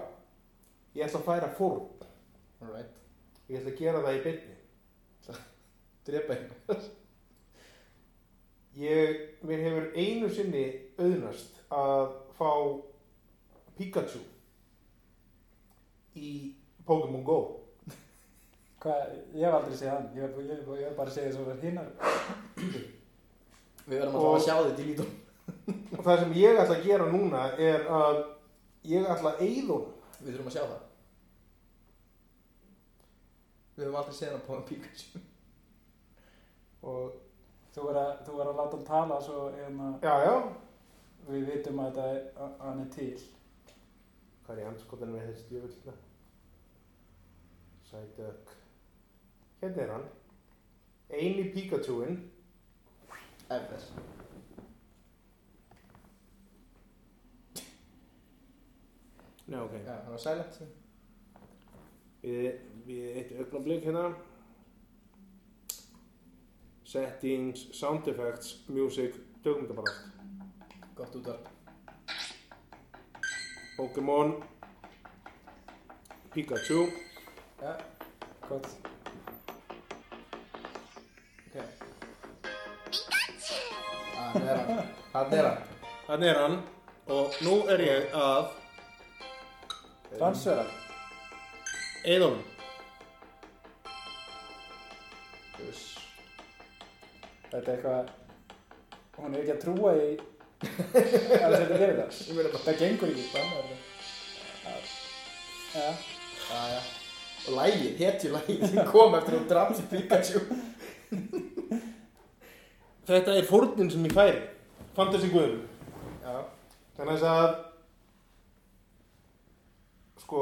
Speaker 1: ég ætla að færa fórn
Speaker 2: Alright.
Speaker 1: ég ætla að gera það í byrni
Speaker 2: Drepa einhvern.
Speaker 1: ég, mér hefur einu sinni auðnast að fá Pikachu í Pokémon Go
Speaker 3: Hvað, ég hef aldrei séð hann. Ég hef, ég hef, ég hef bara séð þess að vera hinnar.
Speaker 2: Við verðum
Speaker 1: Og-
Speaker 2: alltaf að sjá þetta í lítum.
Speaker 1: og það sem ég ætla að gera núna er að ég ætla að eyða honum
Speaker 2: Við þurfum að sjá það. Við höfum aldrei séð hann að Póðan Pikachu.
Speaker 1: og
Speaker 3: Þú verður að, þú verður að láta hann tala svo hérna,
Speaker 1: já, já
Speaker 3: við vitum að þetta er, að hann er til.
Speaker 1: hvað er ég anskotan með þessi hérna? djöfullina Sætök hérna er hann eini Pikachuinn
Speaker 2: Ever.
Speaker 1: Nei, ok
Speaker 2: Já, hann var silent.
Speaker 1: við, við eitt augnablík hérna settings, sound effects, music tökum þetta bara allt
Speaker 2: Gott útvarp.
Speaker 1: Pokémon Pikachu
Speaker 2: Já.
Speaker 3: Gott.
Speaker 2: Ok. Ah, Hann er hann. Hann er hann.
Speaker 1: þannig er hann og nú er ég að
Speaker 3: Transfera.
Speaker 1: Eidon
Speaker 2: Uss.
Speaker 3: Þetta er eitthvað... Hún er ekki að trúa í... að þetta gerir það.
Speaker 2: Ég verði bara
Speaker 3: Það gengur ekki.
Speaker 2: banna þetta.
Speaker 3: Já.
Speaker 2: Jæja. Og lægið, hetju lægið sem [laughs] kom eftir að hún drafði Pikachu.
Speaker 1: þetta er fórnin sem ég færi fantasy guðum
Speaker 2: Já.
Speaker 1: þannig að sko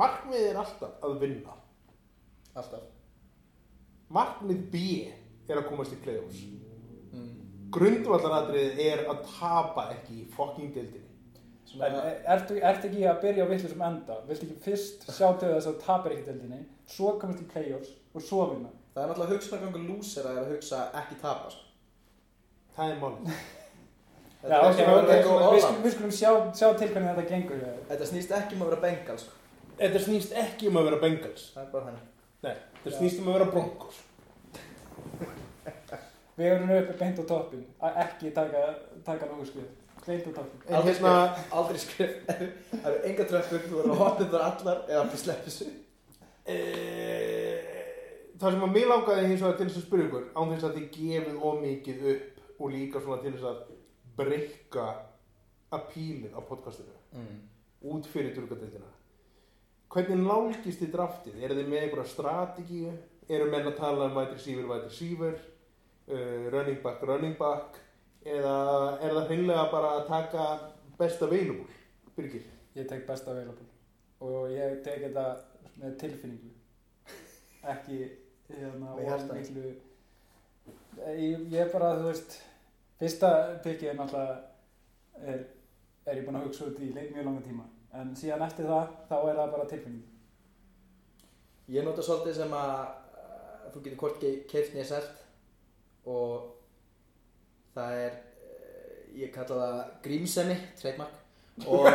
Speaker 1: markmiðið er alltaf að vinna
Speaker 2: Alltaf.
Speaker 1: markmið B er að komast í playoffs
Speaker 2: Mm.
Speaker 1: grundvallaratriðið er að tapa ekki í fucking deildinni
Speaker 2: Svona,
Speaker 3: En eh, ertu, ertu ekki að byrja á villu sem enda? Viltu ekki fyrst sjá til þess að þú tapir ekki deildinni, svo komast í playoffs og svo vinna?
Speaker 2: það er náttúrulega hugsunargangur lúsera er að hugsa ekki tapa. sko.
Speaker 1: það er málið
Speaker 3: Já,
Speaker 2: Þetta
Speaker 3: ok,
Speaker 2: er ekki
Speaker 3: ok,
Speaker 2: um að vera eitthvað
Speaker 3: við skulum- við
Speaker 2: all-out.
Speaker 3: skulum, við skulum sjá, sjá til hvernig þetta gengur. hjá þér.
Speaker 2: Þetta snýst ekki um að vera bengal, sko.
Speaker 1: Þetta snýst ekki um að vera Bengals.
Speaker 2: Það er bara þannig.
Speaker 1: Nei, þetta snýst um að vera Broncos.
Speaker 3: Við erum uppi beint á toppin, að ekki taka, taka nógu skrið. Beint á toppin.
Speaker 1: En
Speaker 2: Aldrei
Speaker 1: hérna,
Speaker 2: skrif, aldrei skrif. Það eru enga tröfkur, þú verður að hoppa þar allar eða bara sleppi þessu.
Speaker 1: e, eh, það sem að mér langaði hins vegar til þess að spyrja ykkur, án þess að þið gefið ómikið upp og líka svona til þess að breyka apílið á podcastinu.
Speaker 2: Mm.
Speaker 1: út fyrir durgadeildina hvernig nálgist þið draftið? eru þið með einhverja strategíu? eru menn að tala um wide receiver, wide receiver uh, running back, running back eða er það hreinlega bara að taka besta veilumúl? Byrgir
Speaker 3: Ég tek best available og ég tek þetta með tilfinningu ekki
Speaker 2: Með
Speaker 3: hérna of
Speaker 2: hjartanu.
Speaker 3: miklu ég, ég er bara þú veist fyrsta pikkið er náttúrulega er, er ég búinn að hugsa út í leik mjög langa tíma en síðan eftir það þá er það bara tilfinning
Speaker 2: Ég nota svolítið sem að uh, þú getur hvort keift nýja selt og það er, uh, ég kalla það grímsemi, trademark og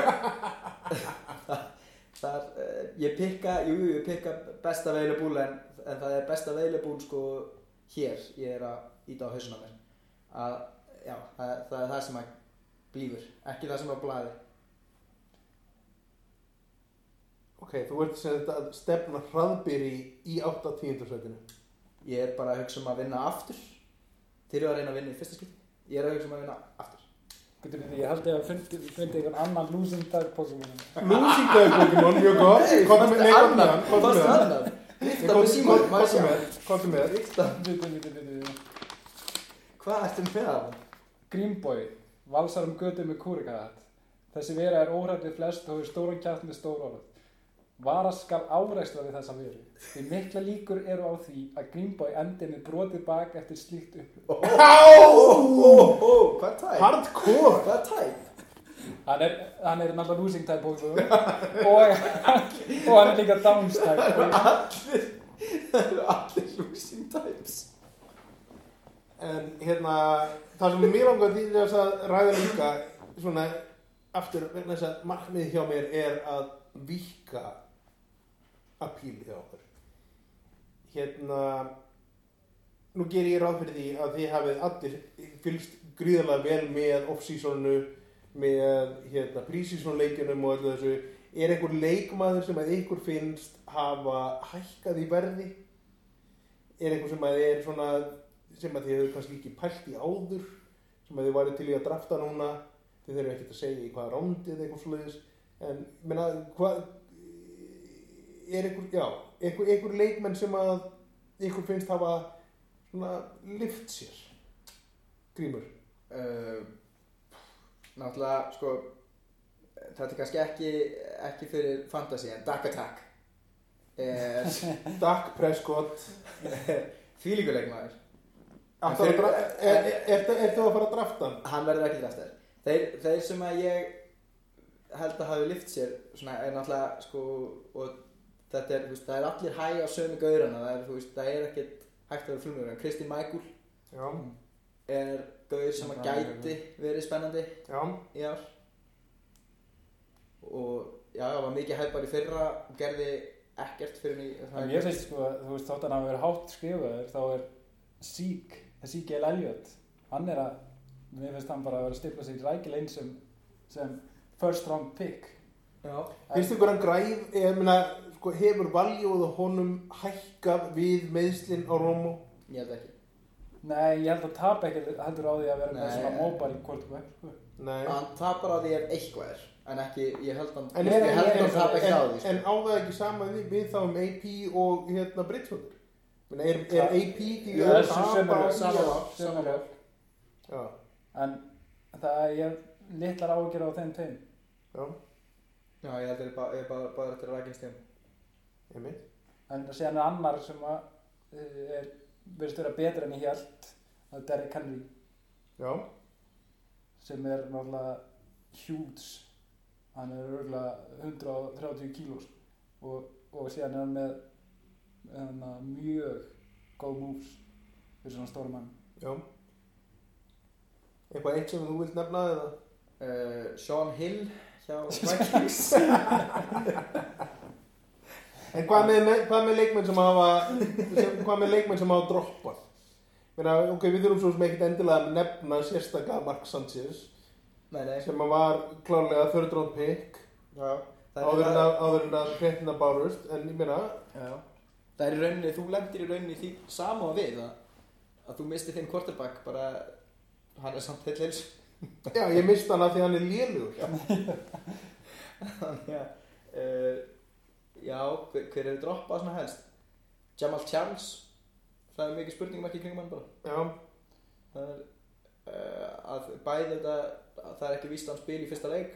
Speaker 2: þar, uh, ég pikka, jú, jú, ég pikka besta available en, en það er besta available sko hér, ég er að íta á hausuna mér að, já, það, það er það sem að blífur, ekki það sem að blæði
Speaker 1: ok, þú ert sem þetta að stefna hraðbyri í 8-10 setinu
Speaker 2: ég er bara að hugsa um að vinna aftur þeir eru að reyna að vinna í fyrsta skipti ég er að hugsa um að vinna aftur
Speaker 3: Getur við því, ég held ég að fundi, fundi einhvern annan losing tag Pokémon
Speaker 1: losing day Pokémon, mjög gott komdu með neikonum með hann komdu
Speaker 2: fannst
Speaker 1: með hann
Speaker 2: annan
Speaker 1: Nei,
Speaker 2: Lifta með
Speaker 1: komdu-
Speaker 2: símanum,
Speaker 1: komdu
Speaker 2: maður sjá
Speaker 1: með hann komdu með hann
Speaker 2: Lyfta.
Speaker 3: Bitu, bitu, bitu, bitu
Speaker 2: Hvað ertu með það?
Speaker 3: Greenboy, valsar um götu með kúrikaðat. Þessi vera er órætt við flest og hefur stóran kjátt með stór orð. Varas skal áreksla við þessa veru. Því mikla líkur eru á því að Greenboy endi með brotið bak eftir slíkt upp.
Speaker 2: Ó, hvað tæp?
Speaker 1: hardcore
Speaker 2: Hvað tæp?
Speaker 3: Hann er, hann er náttúrulega losing type bóðum og, og hann er líka downs type.
Speaker 2: Allir, [laughs] það eru allir losing types
Speaker 1: En hérna, það sem mér langar því þess að ræða líka svona aftur vegna þess að markmið hjá mér er að vika apíl hjá okkur. Hérna, nú ger ég ráð fyrir því að þið hafið allir fylgst gríðarlega vel með off-seasonu, með hérna, pre-season leikjunum og öllu þessu. Er einhver leikmaður sem að ykkur finnst hafa hækkað í verði? er eitthvað sem að er svona sem að þið hefur kannski ekki pælt í áður sem að þið væri til í að drafta núna þið þurfum ekkert að segja í hvaða rándi eða eitthvað slúðis en menna hvað er einhver, já, einhver, einhver leikmenn sem að einhver finnst hafa svona lift sér grímur
Speaker 2: uh, Náttúrulega, sko Þetta er kannski ekki, ekki fyrir fantasy en Dark Attack
Speaker 1: [laughs]
Speaker 2: er
Speaker 1: Dak Prescott
Speaker 2: fílíkuleikmaður
Speaker 1: Ætlarðu að dra- er, er, er, er þú að fara að drafta hann?
Speaker 2: hann verður ekki draftar þeir, þeir sem að ég held að hafi lift sér svona, er náttúrulega sko, og þetta er, þú veist, það er allir hæg á sömu gaurana það er, þú veist, það er ekkert hægt að vera flumur en Kristi Michael
Speaker 1: Já,
Speaker 2: er gaur sem að gæti verið spennandi
Speaker 1: já,
Speaker 2: í ár og já, það var mikið hæpar í fyrra og gerði ekkert fyrir mig
Speaker 3: En ég finnst sko, þú veist, þótt hann hafi verið hátt skrifaður, þá er Sík, Sík El Elliot, hann er að, mér finnst hann bara að vera að stifla sig rækileg eins sem, sem first round pick.
Speaker 2: já,
Speaker 1: Finnst ykkur hann græð, ég meina, sko, hefur valjóð og honum hækkað við meðslinn á Rómo?
Speaker 2: ég held ekki
Speaker 3: Nei, ég held að tap ekki heldur á því að vera með
Speaker 2: Nei.
Speaker 3: svona móbar í hvort og sko.
Speaker 1: Nei.
Speaker 2: hann tapar á því ef eitthvað er en ekki, ég held hann
Speaker 1: En, er,
Speaker 2: ég held hann tapa ekki á
Speaker 1: en,
Speaker 2: því sko.
Speaker 1: en á það ekki sama við, við þá um AP og hérna Britsvöldur? Meina, er, er AP því
Speaker 2: Jú,
Speaker 1: að
Speaker 2: þessu
Speaker 1: tapa á
Speaker 3: sömu röð,
Speaker 1: því
Speaker 2: sama
Speaker 1: að-
Speaker 2: röð.
Speaker 3: Sömu lög.
Speaker 1: Já,
Speaker 3: En það ég hef litlar ágjör á þeim tegum.
Speaker 1: já,
Speaker 2: já, ég held að ég bara, ég bara, bara þetta er rækjast þeim
Speaker 1: ég minn.
Speaker 3: En síðan er annar sem að, uh, er, verðist vera betur en ég held, það er Derrick Henry,
Speaker 1: Já,
Speaker 3: sem er náttúrulega huge. Hann er örgulega 130 kílós sko. og, og síðan er hann með hana, mjög góð moves fyrir svona stóra mann.
Speaker 1: já. Eitthvað eitt sem þú vilt nefna eða?
Speaker 2: uh, Sean Hill hjá
Speaker 1: [laughs]
Speaker 2: Vikings
Speaker 1: en hvað með, með, hvað með leikmenn sem hafa sem, hvað með leikmenn sem hafa droppað Meina, ok, við þurfum svo sem ekkert endilega að nefna sérstaklega Mark Sanchez
Speaker 2: Nei, nei
Speaker 1: sem að var klárlega third round pick
Speaker 2: Já, það
Speaker 1: áður
Speaker 2: er,
Speaker 1: en
Speaker 2: það,
Speaker 1: að, áður en að fréttina bárust en ég meina,
Speaker 2: já. það er í rauninni, þú lendir í rauninni í því sama og við að, að þú mistir þinn quarterback bara, hann er samt heill eins [laughs]
Speaker 1: já, ég mista hann að því að hann er lélugur
Speaker 2: Þannig að uh, Já, hver, hver er droppað svona helst? Jamal Charles Það er mikið spurningum ekki kringum hann bara
Speaker 3: Já,
Speaker 2: Það er uh, að bæði þetta að það er ekki víst að hann spil í fyrsta leik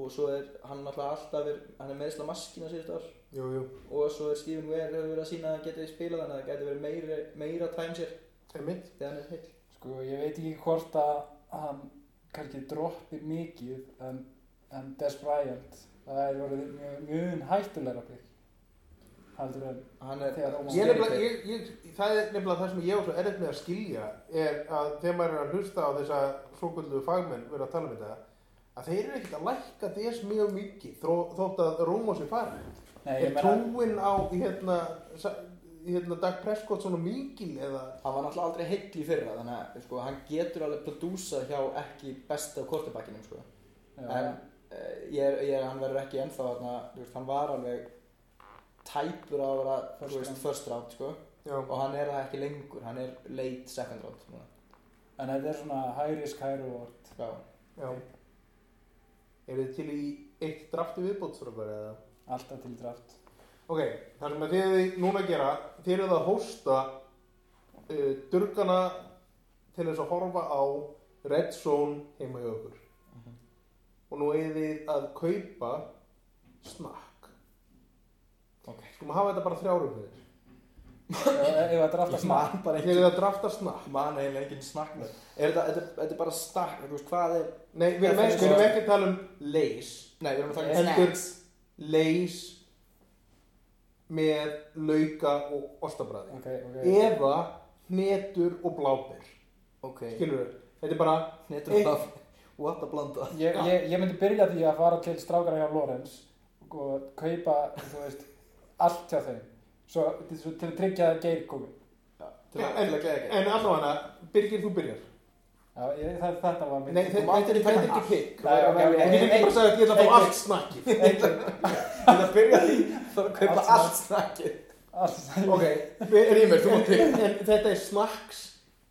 Speaker 2: og svo er hann náttúrulega alltaf er, hann er meðsla maskina síðust ár
Speaker 1: Jú, jú.
Speaker 2: og svo er Stephen Ware hefur verið að sína að hann geti spilað þannig að það geti verið meira, meira timeshare
Speaker 1: Einmitt.
Speaker 2: þegar hann er heill
Speaker 3: sko, ég veit ekki hvort að hann kannski droppi mikið en, en Des Bryant það er orðið mjög, mjög hættulegra bygg heldur en
Speaker 2: hann er
Speaker 3: Þegar Ómar
Speaker 1: Ég
Speaker 3: Skilur
Speaker 1: nefnilega, ég, ég, það er nefnilega það sem ég á svo erfitt með að skilja er að þegar maður er að hlusta á þess að svokvöldu fagmenn vera að tala um þetta að þeir eru ekkert að lækka þess mjög mikið þró, þótt að Rómo sé farin
Speaker 3: Nei, ég
Speaker 1: Er
Speaker 3: meina-
Speaker 1: trúin á hérna, sa- hérna Dag Prescott svona mikil eða
Speaker 2: hann var náttúrulega aldrei heill í fyrra þannig að sko, hann getur alveg prodúsað hjá ekki besta kortabakkinum sko. en
Speaker 3: Já,
Speaker 2: uh, ég, er- ég, er- hann verður ekki ennþá þarna, þú veist, hann var alveg tæpur á að vera
Speaker 3: First
Speaker 2: þú veist,
Speaker 3: round.
Speaker 2: first round sko.
Speaker 1: Já,
Speaker 2: og hann er það ekki lengur, hann er late second round núna.
Speaker 3: en þetta er svona high risk, high reward
Speaker 2: já,
Speaker 1: já Er þið til í eitt drafti viðbótsfrábæri eða?
Speaker 3: alltaf til draft
Speaker 1: Ok, það sem að þið eruð núna að gera, þið eruð að hósta uh, durgana til þess að horfa á Red Zone heima hjá okkur. Og nú eruð þið að kaupa snakk.
Speaker 2: ok
Speaker 1: Skulum hafa þetta bara þrjárum fyrir.
Speaker 3: ef ef að drafta
Speaker 2: ég
Speaker 3: smá
Speaker 2: man bara
Speaker 1: Þið
Speaker 2: ekki
Speaker 1: eruð að drafta snakk.
Speaker 2: man eiginlega enginn snakk með er þetta, þetta, þetta er bara snakk, þú veist hvað er
Speaker 1: Nei, við erum
Speaker 2: Það
Speaker 1: ekki,
Speaker 2: finnst
Speaker 1: við erum
Speaker 2: það.
Speaker 1: ekki að tala um leys.
Speaker 2: nei, við erum að um taka
Speaker 1: Heldur leys með lauka og ostabræði.
Speaker 3: ok, ok,
Speaker 1: Eða hnetur og blábir.
Speaker 2: ok,
Speaker 1: Skilur við? Þetta er bara...
Speaker 2: hnetur
Speaker 1: Eitt.
Speaker 2: af what a blanda
Speaker 3: ég, ég, ég myndi byrja því að fara til strákara hjá Lorenz og kaupa, þú veist, allt hjá þeim svo, svo til að tryggja að geir komi
Speaker 2: til að
Speaker 1: en,
Speaker 2: til að gera ekki
Speaker 1: en allavega, Birgir, þú byrjar.
Speaker 3: Já, ég, það, þetta var mitt
Speaker 1: Nei,
Speaker 2: þú mættir ekki þetta er ekki pikk
Speaker 3: Nei, ok, ok,
Speaker 1: Þú
Speaker 3: ok.
Speaker 1: getur ekki bara að segja að ég ætla að
Speaker 3: Nei,
Speaker 1: fá
Speaker 3: nei.
Speaker 1: allt
Speaker 3: [laughs]
Speaker 1: snakkið.
Speaker 2: til að byrja því [laughs] þá að kaupa
Speaker 3: Allt
Speaker 2: allt snakkið
Speaker 3: Allt-
Speaker 1: Ok, við- Rímur, þú mátt þig. En þetta er snakks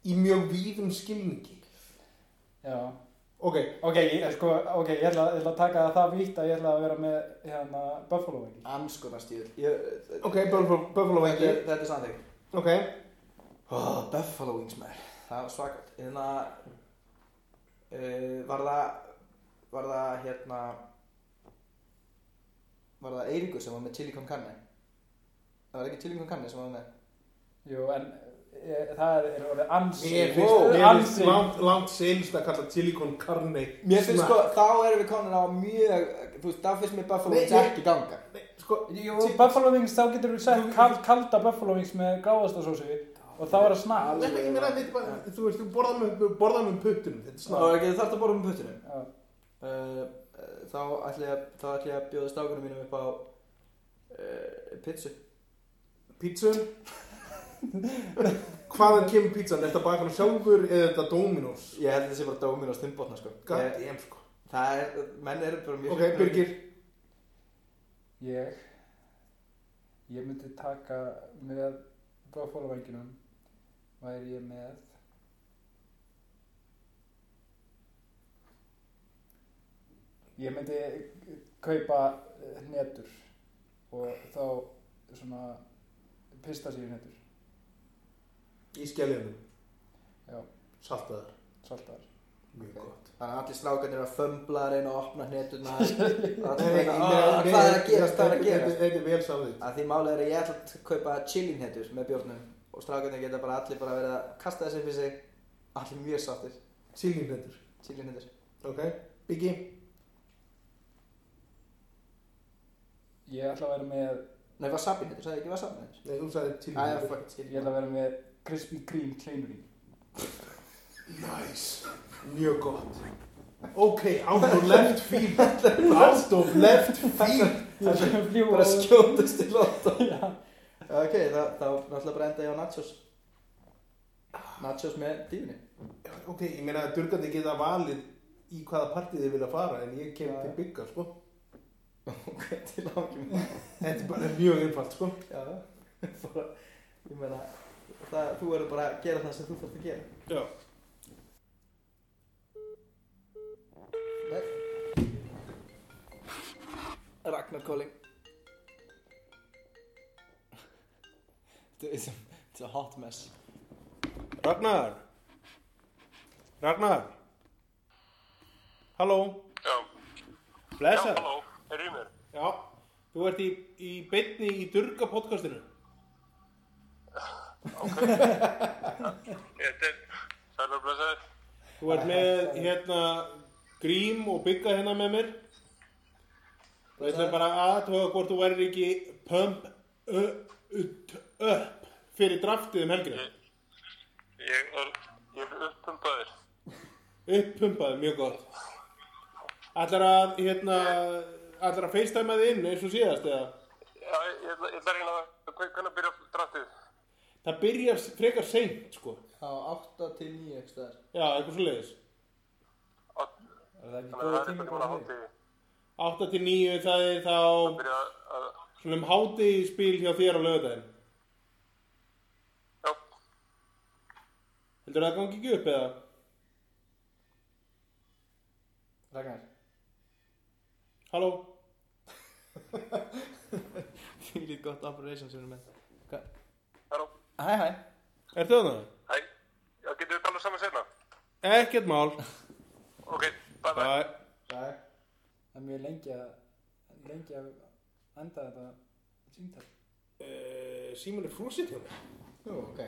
Speaker 1: í mjög víðum skilningi.
Speaker 3: Já,
Speaker 1: Ok,
Speaker 3: ok, ég, sko, ok, ég ætla, ég ætla að taka það það vítt að ég ætla að vera með hérna Buffalo ekki.
Speaker 2: anskotastíður ég-
Speaker 1: ok, Buffalo, Buffalo
Speaker 2: þetta
Speaker 1: vengi.
Speaker 2: er- þetta er samþygg
Speaker 1: Ok,
Speaker 2: Oh, Buffalo Wings maður Það var svakalt Hérna uh, Var það Var það hérna Var það Eiríkur sem var með chili con carne Það var ekki chili con carne sem var með
Speaker 3: Jú, en e, það er orðið ansi,
Speaker 1: mér
Speaker 3: wow,
Speaker 1: finnst, mér finnst
Speaker 3: ansi.
Speaker 1: langt, langt senst að kalla silikon karni
Speaker 2: Mér finnst sko Þá erum við komin á mjög Þú veist, það finnst mér Buffalo
Speaker 1: Nei,
Speaker 2: Wings
Speaker 1: ég-
Speaker 2: ekki ganga
Speaker 1: Nei, sko,
Speaker 3: Jú, Buffalo Wings, þá getur við sett kal, kalda Buffalo Wings með gáðastasósu og þá er það snart.
Speaker 1: þetta ekki mér að þetta er bara, þú veist, þú borðar með, borðar með puttunum, þetta er
Speaker 2: Það var
Speaker 1: snakk.
Speaker 2: ekki þarft að borða með puttunum
Speaker 3: Já,
Speaker 2: uh, uh, Þá ætla ég að Þá ætla ég að bjóða stákunum mínum upp á uh, Pizzu
Speaker 1: Pítsun? Hvaðan kemur pítsan? Er þetta bara hann sjálfur eða er þetta Dominos?
Speaker 2: Ég held að það sé bara Dominos Timbotna sko
Speaker 1: God
Speaker 2: Ég-
Speaker 1: damn, sko.
Speaker 2: Það er, menn eru bara mjög
Speaker 1: Ok, Birgir,
Speaker 3: ég, ég myndi taka með Buffalo Wingsinum, væri ég með Ég myndi kaupa eh, hnetur og þá svona pista sér hnetur,
Speaker 1: í skellinu.
Speaker 3: Já.
Speaker 1: Saltaðar.
Speaker 3: saltar.
Speaker 1: Mjög
Speaker 2: Ok.
Speaker 1: gott.
Speaker 2: Þannig að allir strákarnir eru að fömbla að reyna að opna
Speaker 1: [laughs]
Speaker 2: hneturna Allir
Speaker 1: Nei,
Speaker 2: reyna
Speaker 1: nei,
Speaker 2: að "Ah,
Speaker 1: nei,
Speaker 2: hvað er
Speaker 1: nei,
Speaker 2: að gerast, hvað er að
Speaker 1: þetta-
Speaker 2: gerast
Speaker 1: Þetta þetta er vel samið.
Speaker 2: Að því málið er að ég ætla að kaupa chili hnetur með bjórnum og strákarnir geta bara allir bara verið að kasta þessi fyrir sig Allir mjög sáttir,
Speaker 1: Chili hnetur.
Speaker 2: chili hnetur
Speaker 1: Ok, Biggi.
Speaker 3: Ég ætla að vera með,
Speaker 2: Nei, wasabi hnetur, sagði ég ekki Ah, wasabi hnetur
Speaker 1: Nei, þú sagði chili
Speaker 2: Það er
Speaker 1: hnetur.
Speaker 2: fucking
Speaker 3: ég
Speaker 2: chili
Speaker 3: ætla að vera með Krispy Kreme kleinurinn.
Speaker 1: Nice. Mjög gott. Ok, out of left field. Out of left field.
Speaker 3: Það er
Speaker 2: Bara
Speaker 3: fljóð.
Speaker 2: skjótast til lóta Ok, þá þá náttúrulega bara enda ég á nachos Nachos með dýrni
Speaker 1: Ok, ég meina að durgandi geta valið í hvaða partið þið vilja fara en ég kem
Speaker 3: Já.
Speaker 1: til Bigga, sko.
Speaker 2: [laughs] Ok, til ákjum
Speaker 1: Þetta er bara mjög einfalt, sko.
Speaker 2: Já, [laughs] bara, ég meina, það, þú verður bara að gera það sem þú fórst að gera.
Speaker 1: Já.
Speaker 2: Nei. Judgment Calling It's a, it's a hot mess
Speaker 1: Ragnar Ragnar Halló
Speaker 5: Já, já,
Speaker 1: Blessa
Speaker 5: halló, er í mér?
Speaker 1: Já, þú ert í, í beinni í Durga podcastinu
Speaker 5: Þetta er, sæl og blessaður.
Speaker 1: Þú ert með hérna grím og bygga hérna með mér og ég ætlum bara aðtöga hvort þú værir ekki pump ö- ut- upp fyrir draftið um helgina
Speaker 5: Ég er, ég er uppumpaður.
Speaker 1: uppumpaði mjög gott ætlar að hérna ætlar að facetime þið inn eins og síðast eða
Speaker 5: Já, ég, ég, ætla- ég ætla að reyna það. Hve- Hvernig byrja drattið?
Speaker 1: það byrjar frekar seint sko
Speaker 2: á 8 til 9 ekki staðar
Speaker 1: já, eitthvað svo leiðis
Speaker 5: Þannig
Speaker 3: Er það ekki
Speaker 5: að það
Speaker 3: góða
Speaker 5: er
Speaker 3: tími
Speaker 5: eitthvað
Speaker 3: bara
Speaker 5: tíma á
Speaker 3: því?
Speaker 5: hátíði.
Speaker 1: 8 til 9 það er þá
Speaker 5: Byrja að,
Speaker 1: svona um háti spil hjá þér á lögadaginn
Speaker 5: já,
Speaker 1: heldur það gangi ekki upp eða?
Speaker 3: Ragnar,
Speaker 1: Halló?
Speaker 2: Fyrir gott operation sem við með
Speaker 5: halló,
Speaker 2: Hæ hæ
Speaker 1: Ertu þarna?
Speaker 5: hæ. Já, getum við talað saman sena?
Speaker 1: Ekkert mál.
Speaker 5: Ok, bye bye.
Speaker 1: Bæ.
Speaker 2: Bye
Speaker 3: það er mjög lengi að, lengi að enda þetta síntal.
Speaker 1: Uh, Símon er frúsið hjá mér.
Speaker 2: Jú, ok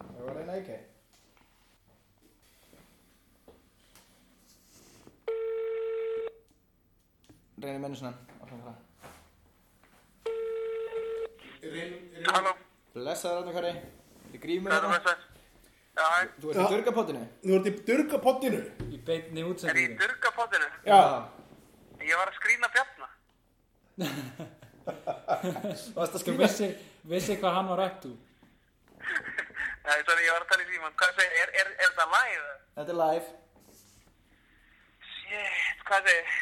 Speaker 2: Það var reyna ekki Reynir mennu svona Áfram það
Speaker 5: Halló,
Speaker 2: Blessaður Arnar Kari Þetta er grímur
Speaker 5: sæl og
Speaker 2: hérna
Speaker 5: blessaður. Já, hæ.
Speaker 2: Þú ert í dörgapottinu
Speaker 1: Nú ertu í durgapottinu.
Speaker 3: Í beinni
Speaker 5: Er ég í
Speaker 3: útsendingu.
Speaker 5: durgapottinu?
Speaker 1: Já.
Speaker 5: Ég var að skrýna bjarna.
Speaker 2: Varst að
Speaker 3: Þú
Speaker 2: skrifa
Speaker 3: vissir, vissir hvað hann var rætt úr.
Speaker 5: Nei, sorry, ég var að tala í síman. Hvað segir, er, er, er það live?
Speaker 2: Þetta er live
Speaker 5: Shit, hvað segir,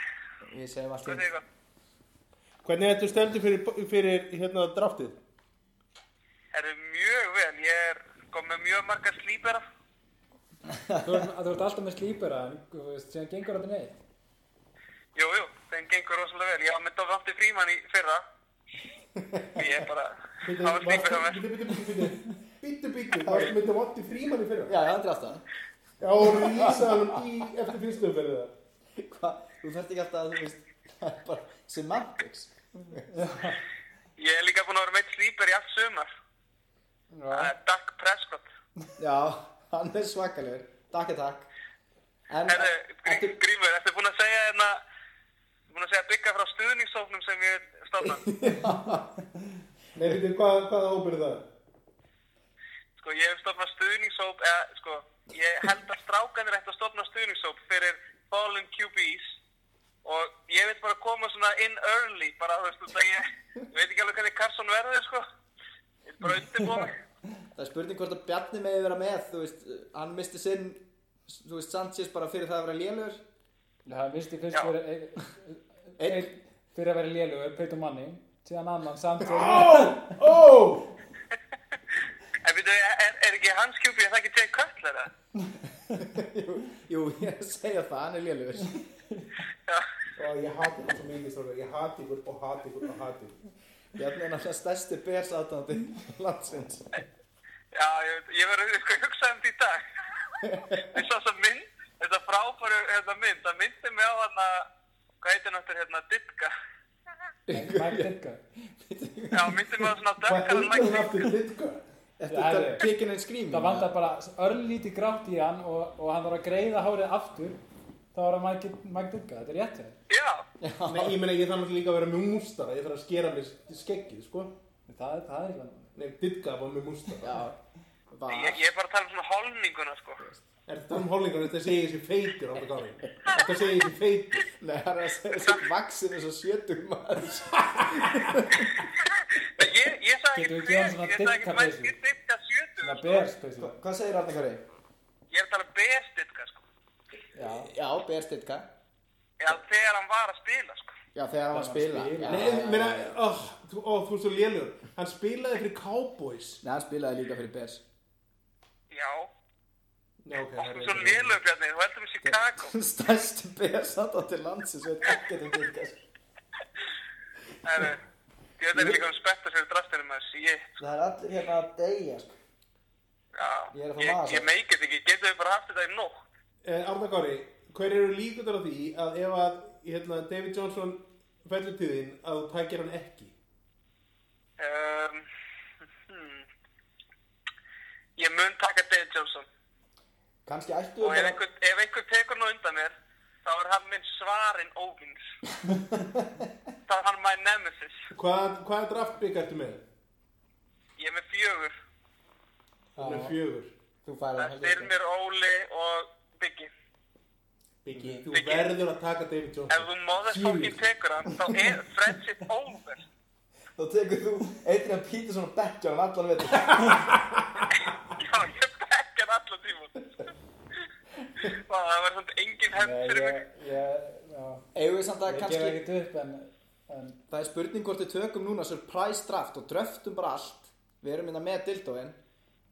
Speaker 2: Við segjum um allt
Speaker 5: hvað
Speaker 2: í
Speaker 5: segir hvað?
Speaker 1: Hvernig ertu stendur fyrir, fyrir hérna draftið?
Speaker 5: Er mjög vel, ég er kom með mjög marga slípera.
Speaker 3: Þú
Speaker 2: [laughs]
Speaker 3: ert þú ert alltaf með slípera, en þú veist, síðan gengur þetta neitt.
Speaker 5: Jú, jú, þeim gengur rosalega vel. Ég á með Dófnafti Fríman í fyrra. Ég er bara, það var slípera með.
Speaker 1: Bitu, bitu, bitu. Bitu, bitu. Varstu með þetta vatti frímanni fyrir?
Speaker 2: Já, það er aftan
Speaker 1: Já, og rísaðum í eftir fyrstu fyrir það.
Speaker 2: Hvað, þú þarft ekki alltaf að þú veist Það er bara semantics
Speaker 5: Ég er líka búin að vera meitt slíper í allt sumar. Það er Dak Prescott.
Speaker 2: Já, hann er svakalegur Takk að takk En,
Speaker 5: Herðu,
Speaker 2: ertu,
Speaker 5: Grí- Grímur, ertu búin að segja hérna, búin að segja bygga frá stuðningssóknum sem ég stofna?
Speaker 1: Nei, bitu, hvað, hvaða óbyrði það?
Speaker 5: Sko, ég hef stofnað stuðningssóp, eða, sko, ég held að strákanir ættu að stofna stuðningssóp fyrir fallen QBs og ég veit bara koma svona in early, bara, þú veist, þú ég, ég veit ekki alveg hvernig Karlsson verður, sko. Ég er bara undirbúið mig.
Speaker 2: það er spurning hvort að Bjarni megi vera með Þú veist, hann misti sinn Þú veist, Sanchez bara fyrir það að vera lélugur
Speaker 3: Það misti fyrst eh,
Speaker 5: Já.
Speaker 3: fyrir,
Speaker 2: Einn.
Speaker 3: ein, fyrir að vera lélugur, Peyton Manning, síðan annan samt og
Speaker 1: Ó! Ó!
Speaker 5: En veitu, er, er ekki hans QB, er það ekki Jay Cutler, eða?
Speaker 2: Jú, [laughs] ég er að segja það, hann er lélugur
Speaker 1: Ó, ég hati ykkur svo mikið, strókar. Ég hati ykkur og hati ykkur og hati ykkur.
Speaker 2: Bjarni er náttúrulega stærsti bers aðdóndi landsins
Speaker 5: Já, ég, veit- ég verður sko að hugsa um því í dag. [laughs] Ég sá þess mynd, þetta frábæru hérna, mynd, það myndi mig á hérna, hvað heitir náttúrulega hérna, Ditka.
Speaker 3: Mike Ditka.
Speaker 5: Já, myndi mig á svona
Speaker 1: Hvað
Speaker 5: dökkar
Speaker 1: heitir það aftur sko. ditka?
Speaker 2: Þetta er
Speaker 3: Herðu.
Speaker 2: kikinn en skrýmin
Speaker 3: Það vantar bara örlítið grátt í hann og, og hann var að greiða hárið aftur, þá var það Mike, Mike Ditka, þetta er rétt hjá þér.
Speaker 5: Já,
Speaker 1: Nei, ég meina, ég þarf náttúrulega líka að vera með mústara. Ég þarf að skera mér skeggið, sko.
Speaker 3: Það er, það er ekki hann.
Speaker 1: Nei, ditka var með mústara.
Speaker 2: Já, var
Speaker 5: ég, ég er bara að tala um svona holninguna, sko.
Speaker 1: Er þetta um holningar? Þetta segir þessi feitur, Arnar Kári. Þetta segir þessi feitur.
Speaker 2: Nei, hann er að segja þessi vaksin eins og sjötug maður
Speaker 5: Nei, Ég, ég
Speaker 3: Getum
Speaker 5: sagði
Speaker 3: við
Speaker 5: ekki
Speaker 3: gefið
Speaker 5: hver,
Speaker 3: hann svona
Speaker 5: ég sagði
Speaker 3: Ditka
Speaker 5: ekki mætt,
Speaker 3: peysu?
Speaker 5: ég Ditka 70,
Speaker 3: Það
Speaker 5: sko.
Speaker 3: ber spesifík.
Speaker 2: Hvað segir Arne Kari?
Speaker 5: Ég er að tala um Bears Ditka, sko.
Speaker 3: Já,
Speaker 2: Já, bers ditka
Speaker 5: Já, þegar hann var að spila, sko.
Speaker 2: Já, þegar hann var að spila
Speaker 3: Þegar hann
Speaker 2: Já,
Speaker 3: var að
Speaker 1: Nei, ég
Speaker 2: já, já.
Speaker 1: meina, oh, þú, ó, þú er svo lélur. Hann spilaði fyrir Cowboys.
Speaker 2: Nei, hann spilaði líka fyrir bers
Speaker 5: Já,
Speaker 1: Já, ok.
Speaker 5: og svo nélöfjarnir, þú heldur með Chicago.
Speaker 2: Stærsti bers aðdóndi landsins veit ekkert um ditka
Speaker 5: Herru, ég veit ekki líka um spetta sér í drastinu maður, shit. sko.
Speaker 2: Það er allir hérna að deyja, sko.
Speaker 5: Já,
Speaker 2: Ég er að fá
Speaker 5: ég,
Speaker 2: magasár.
Speaker 5: ég meikið ekki, getur við bara haft þetta í nótt?
Speaker 4: Arna eh, Kári, hver eru líkundar á því að ef að hérna, David Johnson fellur til þín að þú tækir hann ekki?
Speaker 5: Um, hmm. Ég mun taka Dave Johnson
Speaker 2: Kanski ættu
Speaker 5: og
Speaker 2: við
Speaker 5: ef
Speaker 2: bara...
Speaker 5: einhver, ef einhver tekur nú undan mér þá er hann minn svarinn óvins þá er hann my nemesis
Speaker 4: Hvað, hvaða draftbygg ertu með?
Speaker 5: ég er með fjögur
Speaker 4: Þú með
Speaker 2: Já,
Speaker 4: fjögur.
Speaker 2: Þú færið hann
Speaker 5: það er
Speaker 2: heldur.
Speaker 5: mér Óli og Biggi
Speaker 4: Biggi, þú
Speaker 5: Biggi.
Speaker 4: verður að taka
Speaker 1: [laughs]
Speaker 4: David
Speaker 5: ef
Speaker 4: Johnson.
Speaker 5: þú motherfucking
Speaker 4: Fjögur.
Speaker 5: tekur hann þá er friendship over
Speaker 2: Þá tekur þú Adrian Peterson og bekkja hann allan veitur.
Speaker 5: já ég bekkar allan tíma Vá, það verður samt engin hefn
Speaker 3: Nei,
Speaker 5: fyrir mig
Speaker 3: ég, ég, já,
Speaker 2: Eigum við samt að
Speaker 3: ég gef
Speaker 2: kannski...
Speaker 3: ekkert upp en, en
Speaker 2: Það er spurning hvort við tökum núna surprise draft og dröftum bara allt. Við erum hérna með dildóin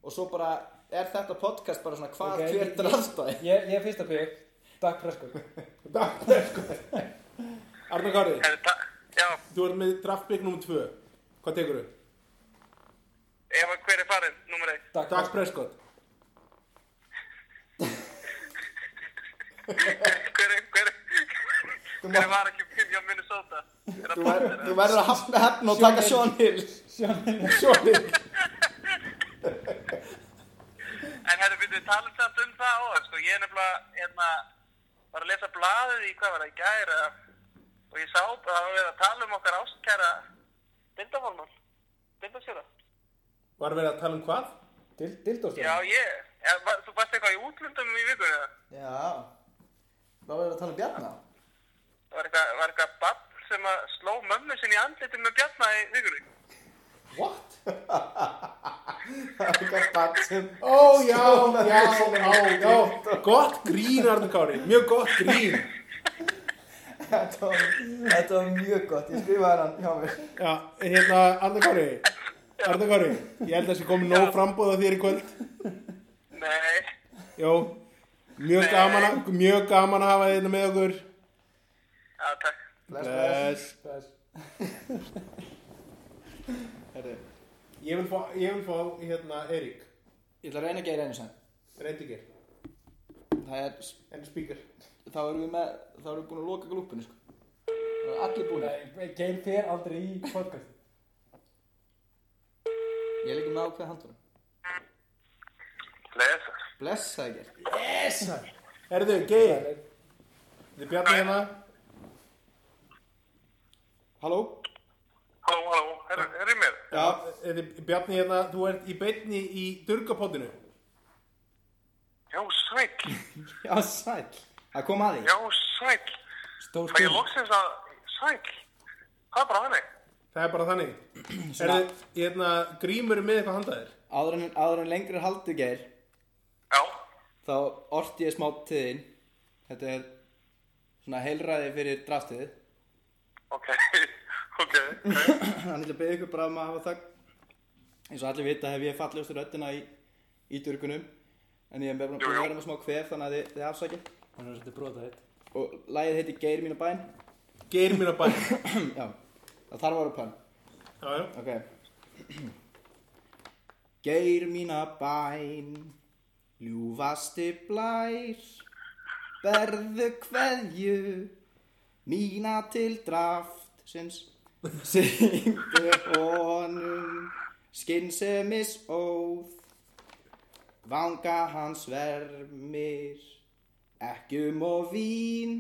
Speaker 2: og svo bara er þetta podcast bara svona hvað
Speaker 3: Ok,
Speaker 2: hver
Speaker 3: ég-
Speaker 2: draftaði.
Speaker 3: ég, ég er fyrsta bygg, Dak Prescott.
Speaker 1: sko.
Speaker 4: Arna Kári,
Speaker 5: Herru, ta- já,
Speaker 4: þú ert með draftbygg nr. 2. Hvað tekur þú?
Speaker 5: ef að hver er farinn, nummer 1
Speaker 3: Dak
Speaker 4: Dak
Speaker 3: Prescott.
Speaker 4: Prescott.
Speaker 5: [laughs] hver er, hver er hver var ekki fyrir hjá Minnesota er að
Speaker 2: Þú,
Speaker 5: bóta
Speaker 2: ver,
Speaker 5: þeirra
Speaker 2: þú verður að hafna hefn og taka Sean Hill.
Speaker 4: Sjóni.
Speaker 5: En herru, við talum samt um það áðan, sko, ég er nefnilega, hérna, var að lesa blaðið í, hvað var það, í gæra, og ég sá, það var verið að tala um okkar ástkæra dildafólmann, dildasjóra.
Speaker 4: Var verið að tala um hvað?
Speaker 5: Já,
Speaker 3: Dildóstjón.
Speaker 5: ég, ja, var, þú varst eitthvað í útlöndum í vikunni, eða?
Speaker 2: Já. Þá verður að tala um Bjarna.
Speaker 5: það var eitthvað, var eitthvað bann sem að sló mömmu sinni í andliti með bjarna í vikunni.
Speaker 4: What?
Speaker 2: Það er eitthvað bann sem...
Speaker 4: Ó, já, já, já, já. Gott grín, Arna Kári. Mjög gott grín.
Speaker 2: Þetta var, þetta var mjög gott. Ég skrifaði hann hjá mér.
Speaker 4: Já, hérna, Arna Kári. Arna Kári, ég held að þessi komið nóg frambóð á þér í kvöld.
Speaker 5: Nei,
Speaker 4: Jó, mjög gaman að, mjög gaman að hafa þið hérna með okkur.
Speaker 5: já, takk.
Speaker 2: Bless, bless.
Speaker 4: Bless. Herri, Ég vil fá, ég vil fá, hérna, Eirík.
Speaker 2: Ég ætla að reyna að gera einu sem.
Speaker 4: Reyndigir.
Speaker 2: Það er...
Speaker 4: En spíkar.
Speaker 2: Þá erum við með... Þá erum við búin að loka glúpunni, sko. Það er allir búin.
Speaker 3: Nei, geir þér aldrei í podcast.
Speaker 2: Ég er líka með ákveða handunum.
Speaker 5: Lesa.
Speaker 2: Bless, það er gert.
Speaker 4: Herðu, Geir. Þið bjarni hérna.
Speaker 2: Halló?
Speaker 5: Halló, halló, herru, herru í mér.
Speaker 4: Já. Þið bjarni hérna, þú ert í beinni í durgapottinu.
Speaker 5: Já, sæll,
Speaker 2: Já, sæl. Það kom að því.
Speaker 5: já, sæll.
Speaker 3: Stór
Speaker 5: Fæ ég
Speaker 3: skil.
Speaker 5: loksins að, sæll, það er bara þannig.
Speaker 4: Það er bara þannig. Herðu, hérna, grímur er með eitthvað handaðir.
Speaker 2: Áður en, áður en lengri haldið geir,
Speaker 5: Já,
Speaker 2: þá orti ég smá til þín. Þetta er svona heilræði fyrir draftið. [clears throat]
Speaker 5: Ok, [laughs] ok, ok.
Speaker 2: Þannig að beða ykkur bara um að hafa þögn. Eins og allir vita hef ég fallegustu röddina í, í dörgunum. En ég er með búin
Speaker 5: Jú,
Speaker 2: að
Speaker 5: jú.
Speaker 2: vera með smá kvef þannig að þið, þið afsakið.
Speaker 3: Hann er svolítið brotað eitt.
Speaker 2: Og lagið heiti Geir mínu bæn. [clears throat]
Speaker 4: Geir mér að bæta.
Speaker 5: [laughs]
Speaker 2: Já, það þarf að vera pönn.
Speaker 4: Já, já.
Speaker 2: Ok Geir mína bæn Ljúfasti blær Berðu kveðju Mína til draft Sins Syndu honum Skinsemis óð Vanga hans vermir Ekki um og vín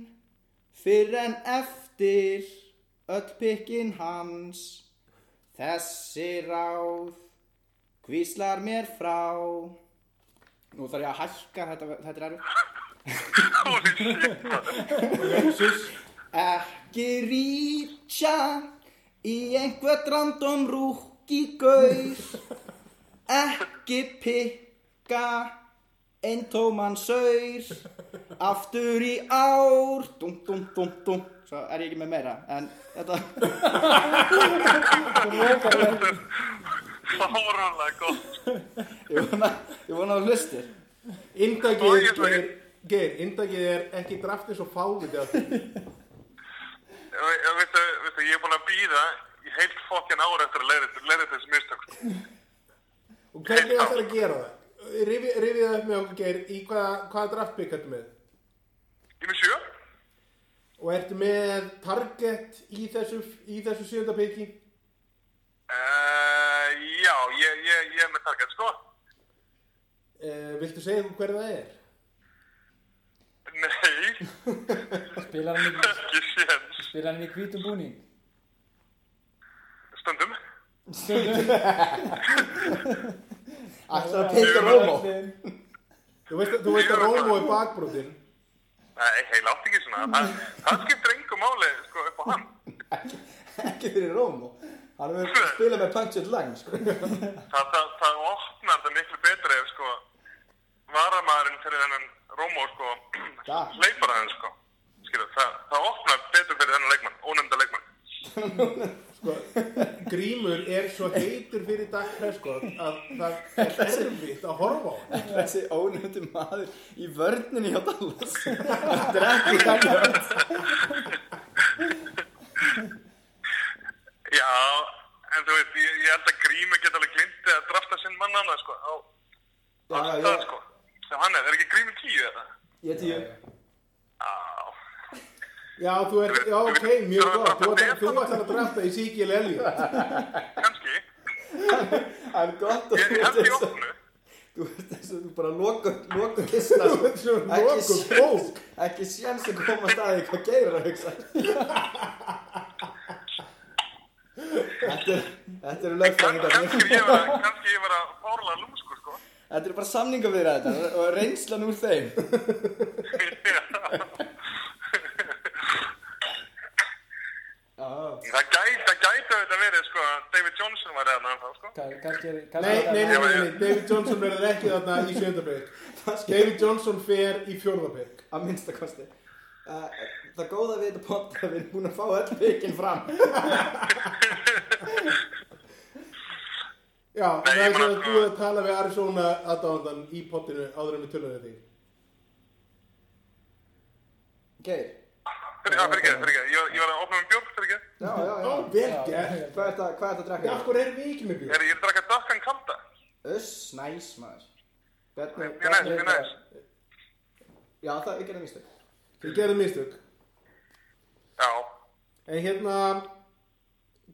Speaker 2: Fyrr en eftir Öll pikkin hans Þessi ráð hvíslar mér frá Nú þarf ég að hækka þetta, þetta er erfitt Ekki rýtja í einhvert random rúki gaur Ekki pikka einn tóman saur Aftur í ár Dum, dum, dum, dum Svo er ég ekki með meira En þetta [laughs]
Speaker 5: Fáránlega gott.
Speaker 2: Ég vona, ég vona að þú hlustir
Speaker 5: Ó,
Speaker 4: Indagið,
Speaker 5: ég svo-
Speaker 4: Geir, Geir, indagið er ekki draftið svo fáviti af því.
Speaker 5: eh, Ve- Veistu, veistu, ég er búin að býða heilt fokkin ára eftir að leiðið leiði þessi mistök.
Speaker 1: Og hvernig ætlar að gera það? Rifið rifi það upp með okkur geir í hvaða hvað draftbygg ertu með?
Speaker 5: Ég með sjö?
Speaker 1: Og ertu með target í þessu, í þessu sjönda byggi?
Speaker 5: Uh, já, ég, ég, ég er með target, sko.
Speaker 1: Uh, viltu segja okkur hver það er?
Speaker 5: Nei, [laughs]
Speaker 3: Spilar hann í,
Speaker 5: ekki séns.
Speaker 3: spilar hann í hvítum búning?
Speaker 5: Stundum.
Speaker 3: Stundum.
Speaker 2: Ætlar að pissa Rómó
Speaker 1: Þú veist, að- þú veist að Rómo er bakbrotinn.
Speaker 5: Nei, heil átt ekki svona. Það, það skiptir engu máli, sko, upp á hann.
Speaker 2: Ekki fyrir Rómó Hann er verið að spila með punched line sko.
Speaker 5: Það, það, það opnar það miklu betri ef, sko, varamæðurinn fyrir þennan Rómó, sko,
Speaker 2: Da.
Speaker 5: hleypar aðeins, sko. Skilu, það, það opnar betur fyrir þennan leikmann, ónefnda leikmann.
Speaker 1: Sko, grímur er svo heitur fyrir Dak Prescott að það er erfitt að horfa á hann.
Speaker 2: Þessi ónöfndi maður í vörninni hjá
Speaker 5: [laughs]
Speaker 2: Dallas Hann drekki þannig
Speaker 5: Já, en þú veit, ég, ég held að Grímur geta alveg glindi að drafta sinn mann annað, sko, á, á
Speaker 2: Já,
Speaker 5: það,
Speaker 2: já,
Speaker 5: sko. Sem hann er, er ekki Grímur 10 eða?
Speaker 2: ég tíu
Speaker 5: Já,
Speaker 1: Já, þú er, já, ok, mjög gott. Þú ætlar, þú ætlar að drafta í Sigil Elliot.
Speaker 5: kannski.
Speaker 2: Það er gott að þú
Speaker 5: Ég ég
Speaker 2: ert
Speaker 5: held í
Speaker 2: eins og
Speaker 5: opnu.
Speaker 2: Þú ert eins og þú bara loka, loka kista
Speaker 1: Þú ert svo
Speaker 2: Ekki
Speaker 1: lokuð
Speaker 2: séns-
Speaker 1: bók.
Speaker 2: Ekki séns að koma staði hvað geir er að hugsa Þetta er- Þetta eru
Speaker 5: Kann- Kannski
Speaker 2: lögfræðingarnir
Speaker 5: ég var að, kannski ég var að fárlega lúmsku, sko.
Speaker 2: Þetta eru bara samninga við þetta og reynslan úr þeim Já,
Speaker 5: það gæti, það gæti auðvitað verið, sko, að David Johnson var eða ennþá, sko.
Speaker 3: Kannski, kannski-
Speaker 1: Nei, nei, nei,
Speaker 3: kannski.
Speaker 1: nei, nei, David Johnson verður ekki þarna í sjönda bygg.
Speaker 2: það skil
Speaker 1: David Johnson fer í fjórða bygg.
Speaker 2: að minnsta kosti uh, það góða við þetta pott að við erum búin að fá öll byggjinn fram
Speaker 1: Já,
Speaker 5: Nei,
Speaker 1: það
Speaker 5: ég
Speaker 1: er
Speaker 5: meina
Speaker 1: svo að
Speaker 5: sko-
Speaker 1: þú að tala við Arizona aðdáðan í pottinu áður en við tölum við þig.
Speaker 2: Geir,
Speaker 5: Fyrir, já, fyrir ekki, fyrir ekki. Ég, ég var að opna um björn, fyrir ekki.
Speaker 2: já, já, já
Speaker 1: Ó, vel
Speaker 3: Já,
Speaker 1: gert.
Speaker 2: hvað er þetta, hvað er þetta
Speaker 1: Já,
Speaker 2: að drakka?
Speaker 1: Akkur erum við ekki með björn?
Speaker 5: Er, ég er að draka Duckan Kalda.
Speaker 2: Öss, næs maður Hvernig,
Speaker 5: Mjög næst, mjög næst.
Speaker 2: já það er ekki að mista
Speaker 1: Við gerðum mistök.
Speaker 5: Já.
Speaker 1: En hérna,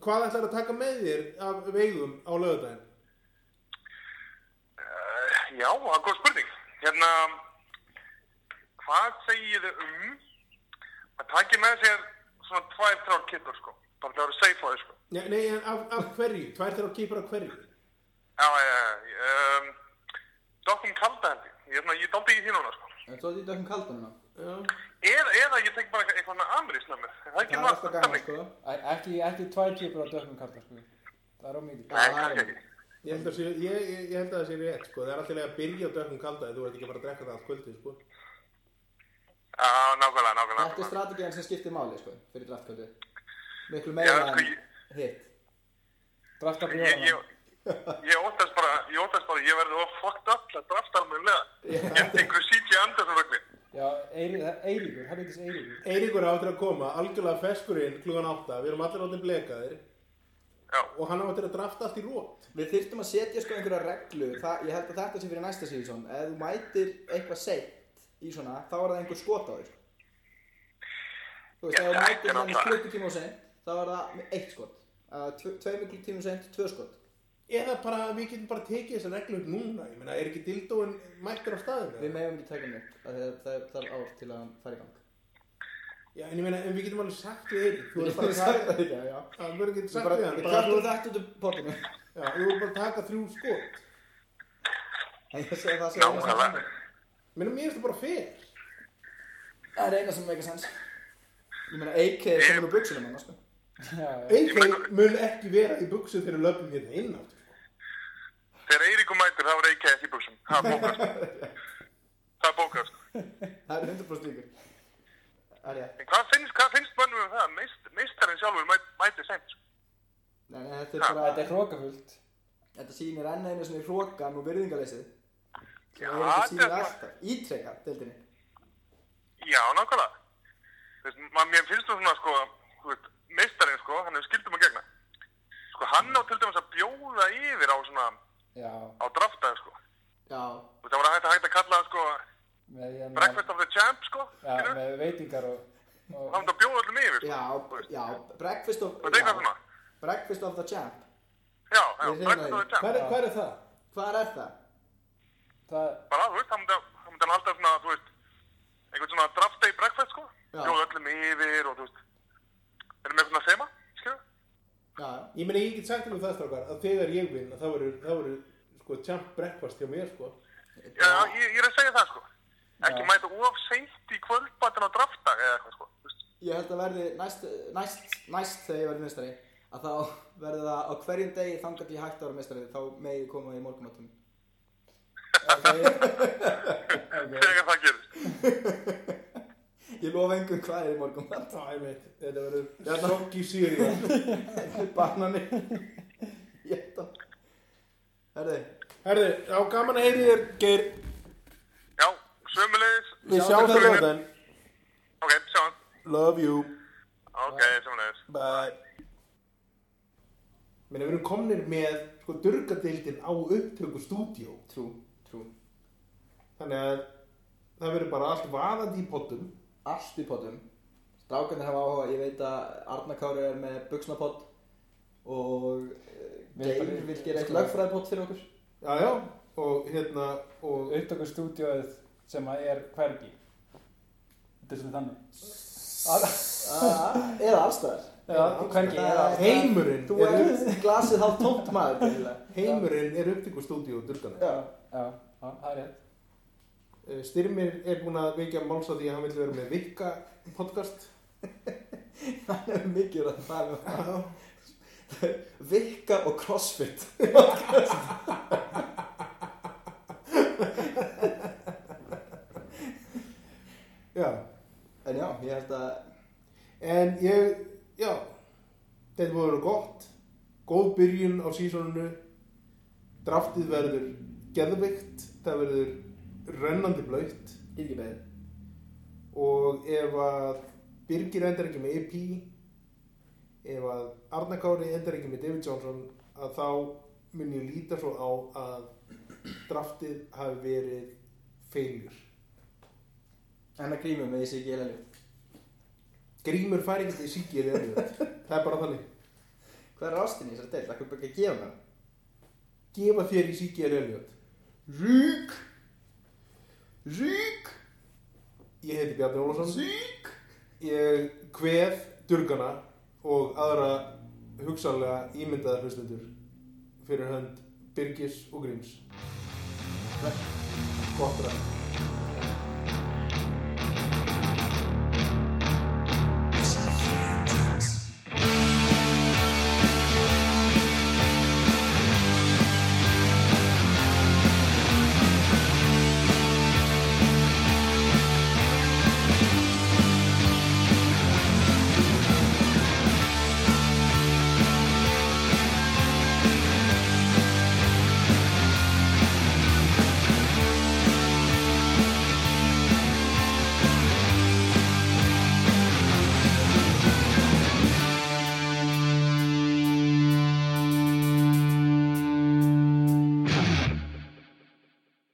Speaker 1: hvað ætlar að taka með þér af veigum á lögudaginn?
Speaker 5: Uh, já, það er góð spurning. Hérna, hvað segið þið um að taki með sér svona tvær, þrjár kittur, sko? Bara það eru safe á því, sko.
Speaker 1: Nei, nei en af, af hverju? Tvær þrjá kýpar af hverju?
Speaker 5: Já, já, já. Um, Duckan Kalda held ég. Ég, hérna, ég daldi ekki þín núna, sko.
Speaker 2: en svo er þetta ekki kaldan núna
Speaker 1: Já.
Speaker 5: Eða, eða ég tek bara eitthvað- eitthvað með Amrís með mér. Það er ekki
Speaker 2: það er alltaf gaman
Speaker 5: þannig.
Speaker 2: sko
Speaker 3: Æ- Ekki, ekki tvær kýpur á dökkum kallar, sko. Það er á mikið.
Speaker 5: Nei,
Speaker 2: Já, það er
Speaker 5: kannski ekki.
Speaker 1: Ég held að sé, ég, ég, ég held að það sé rétt, sko. Það er alltaf að byrja á dökkum kalda en þú ert ekki bara að drekka það allt kvöldið, sko.
Speaker 5: Já, nákvæmlega, nákvæmlega.
Speaker 2: þetta er
Speaker 5: nákvæmlega.
Speaker 2: strategiðan sem skiptir máli sko fyrir draftkvöldu miklu
Speaker 5: Já,
Speaker 2: meira
Speaker 5: sko,
Speaker 2: en
Speaker 5: ég-
Speaker 2: hitt
Speaker 3: Drafta
Speaker 5: Ég,
Speaker 3: bjóðan.
Speaker 5: ég, ég óttast bara, ég óttast bara, að ég verði of fucked up til að drafta almennilega. Ég hendi einhverju C.J. Anderson rögni.
Speaker 3: Já, Eirí- það- Eiríkur, helvitis Eiríkur.
Speaker 1: Eiríkur áttir að koma, algjörlega feskurinn klugan átta, við erum allir áttir blekaðir
Speaker 5: Já,
Speaker 1: og hann áttir að drafta allt í rót.
Speaker 2: Við þyrftum að setja sko einhverja reglu það, Ég held að þetta sé fyrir næsta síðan Ef þú mætir eitthvað seitt í svona Þá er það einhver skot á þér sko. Þú veist, ef þú
Speaker 5: Já, það er
Speaker 2: mætir þannig
Speaker 5: náttúrulega-
Speaker 2: klukkutíma og seint Þá er það með eitt skot uh, tve, Tveimur klukkutíma og seint, tvö skot
Speaker 1: Eða bara, við getum bara tekið þessa reglu upp núna, ég meina, er ekki dildóin mættur á staðinu?
Speaker 2: Við megum ekki taka neitt af því að Það er, það er ár til að hann fara í gang
Speaker 1: Já, en ég meina, en við getum alveg sagt við Eirík, þú
Speaker 2: Þú
Speaker 1: ert
Speaker 2: veist,
Speaker 1: bara að
Speaker 2: það er
Speaker 1: taka,
Speaker 2: sagt það, já, já
Speaker 1: það verður ekki
Speaker 2: Við
Speaker 1: sagt
Speaker 2: bara,
Speaker 1: við hann,
Speaker 2: við
Speaker 1: bara, þú
Speaker 2: klartum
Speaker 1: ert-
Speaker 2: þetta út úr portinu
Speaker 1: já, þú ert bara að taka þrjú skot.
Speaker 2: En ég segi að það sé eina sem-
Speaker 5: nákvæmlega.
Speaker 1: Ég meina, mér er þetta bara fer.
Speaker 2: Það er eina sem meika sens Ég meina, AK er komin úr buksunum hann, sko
Speaker 3: Já, já.
Speaker 1: Eirík mun ekki vera í buksu þegar við löpum hérna inn áttur.
Speaker 5: Þegar Eiríku mætur, þá er Eiki ekki í buksum. Það er bókast. Það er sko. bókast.
Speaker 2: Það er 100% líkur Það er ég
Speaker 5: En hvað finnst, hvað finnst mönnum um það? að Meist, meistarinn sjálfur mæ, mæti seint. sko.
Speaker 2: Nei, nei, þetta er bara,
Speaker 3: Þetta er hrókafullt.
Speaker 2: þetta sýnir enn einu svona hrókan og virðingarleysið.
Speaker 5: Já,
Speaker 2: Það er þetta
Speaker 5: þetta
Speaker 2: sýnir
Speaker 5: er
Speaker 2: alltaf, ítrekka, deildinni.
Speaker 5: Já, nákvæmlega. Þú veist, ma- mér finnst þú svona, sko, þú veist, meistarinn, sko, hann hefur skildum að gegna. sko, hann á til dæmis að bjóða yfir á svona,
Speaker 3: Já,
Speaker 5: á draftaði, sko.
Speaker 2: Já,
Speaker 5: Þú veist, það var hægt að hægt að kalla það, sko,
Speaker 3: með, hérna,
Speaker 5: breakfast of the champ, sko,
Speaker 3: já,
Speaker 5: skilurðu?
Speaker 3: með veitingar og, og
Speaker 5: hann átti að bjóða öllum yfir,
Speaker 2: já,
Speaker 5: sko.
Speaker 2: já, breakfast of...
Speaker 5: Og þetta er eitthvað svona.
Speaker 2: Breakfast of the champ.
Speaker 5: Já, já,
Speaker 2: Ég hreinlega-
Speaker 5: breakfast of the champ.
Speaker 1: Hvað er, hvað er það?
Speaker 2: Hvar er það?
Speaker 3: það,
Speaker 5: Bara, þú veist, hann myndi, hann myndi halda svona, þú veist, einhvern svona draft day breakfast, sko.
Speaker 2: Já.
Speaker 5: Bjóða öllum yfir og, þú veist, erum með svona þema, skilur?
Speaker 2: Já, já.
Speaker 1: Ég meina, ég get sagt ykkur það, strákar, að þegar ég vinn, að það verður, það verður, sko, champ breakfast hjá mér, sko.
Speaker 5: Já, ég, ég er að segja það, sko. Ekki mæta of seint í kvöldbættin á draftdag eða eitthvað, sko. Þú veist,
Speaker 2: Ég held að verði næst, næst, næst þegar ég verði mistari að þá verði það á hverjum degi þangar til ég hætti að vera mistari þá megi koma í morgumatum.
Speaker 5: Þegar það gerist.
Speaker 2: Ég lofa engum hvað er í morgumat.
Speaker 1: Það er meitt, þetta verður sjokk í síri.
Speaker 2: Hérna. Banani. Ég held að... Herði,
Speaker 1: Herðu, á gaman að heyri þér, Geir.
Speaker 5: Já, sömulegis.
Speaker 1: Við sjáum það lögðan.
Speaker 5: Ok, sjáum.
Speaker 1: Love you.
Speaker 5: Ok, sömulegis.
Speaker 1: Bye. Meina, við erum komnir með, sko, durgadeildin á upptöku stúdíó.
Speaker 2: trú, trú.
Speaker 1: Þannig að það verður bara allt vaðandi í pottum.
Speaker 2: allt í pottum strákarnir hafa áhuga, ég veit að Arna Kári er með buksnapott og eh,
Speaker 3: Við
Speaker 2: Geir
Speaker 3: bara-
Speaker 2: vil gera eitt
Speaker 3: sko-
Speaker 2: lögfræðipott fyrir okkur
Speaker 1: Já, já, og hérna, og
Speaker 3: upptöku stúdíóið sem að er hvergi þetta er svona þannig Að-
Speaker 2: Ah, eða allstæðar
Speaker 3: já, hvergi eða
Speaker 1: heimurinn
Speaker 2: þú
Speaker 1: er,
Speaker 2: er glasið hálf tómt maður greinilega.
Speaker 1: heimurinn er upptöku stúdíó durgadeildin.
Speaker 2: já,
Speaker 3: já, já, það er rétt
Speaker 1: Eh, Styrmir er búinn að vekja máls á því að hann vil vera með vikka podcast.
Speaker 2: [laughs] það er mikið að það er vikka og crossfit
Speaker 1: Já.
Speaker 2: en já, ég held að
Speaker 1: En ég, já, þetta voru gott, góð byrjun á sísoninu, draftið verður geðvikt, það verður rennandi blöytt
Speaker 2: ég ekki beðið
Speaker 1: og ef að Birgir endar ekki með EP, ef að Arna Kári endar ekki með David Johnson, að þá mun ég líta svo á að draftið hafi verið feiljur.
Speaker 2: en að grímum með þessi ekki eða
Speaker 1: Grímur fær ekki til síkið eða eða það er bara þannig
Speaker 2: hvað er ástin í þessari deil, það er ekki að gefa mér
Speaker 1: gefa þér í síkið eða eða Rík Rík Ég heiti Bjarni Ólafsson Rík Ég kveð durgana og aðra hugsanlega ímyndaðar hlustendur fyrir hönd Birgis og Gríms Gott ræð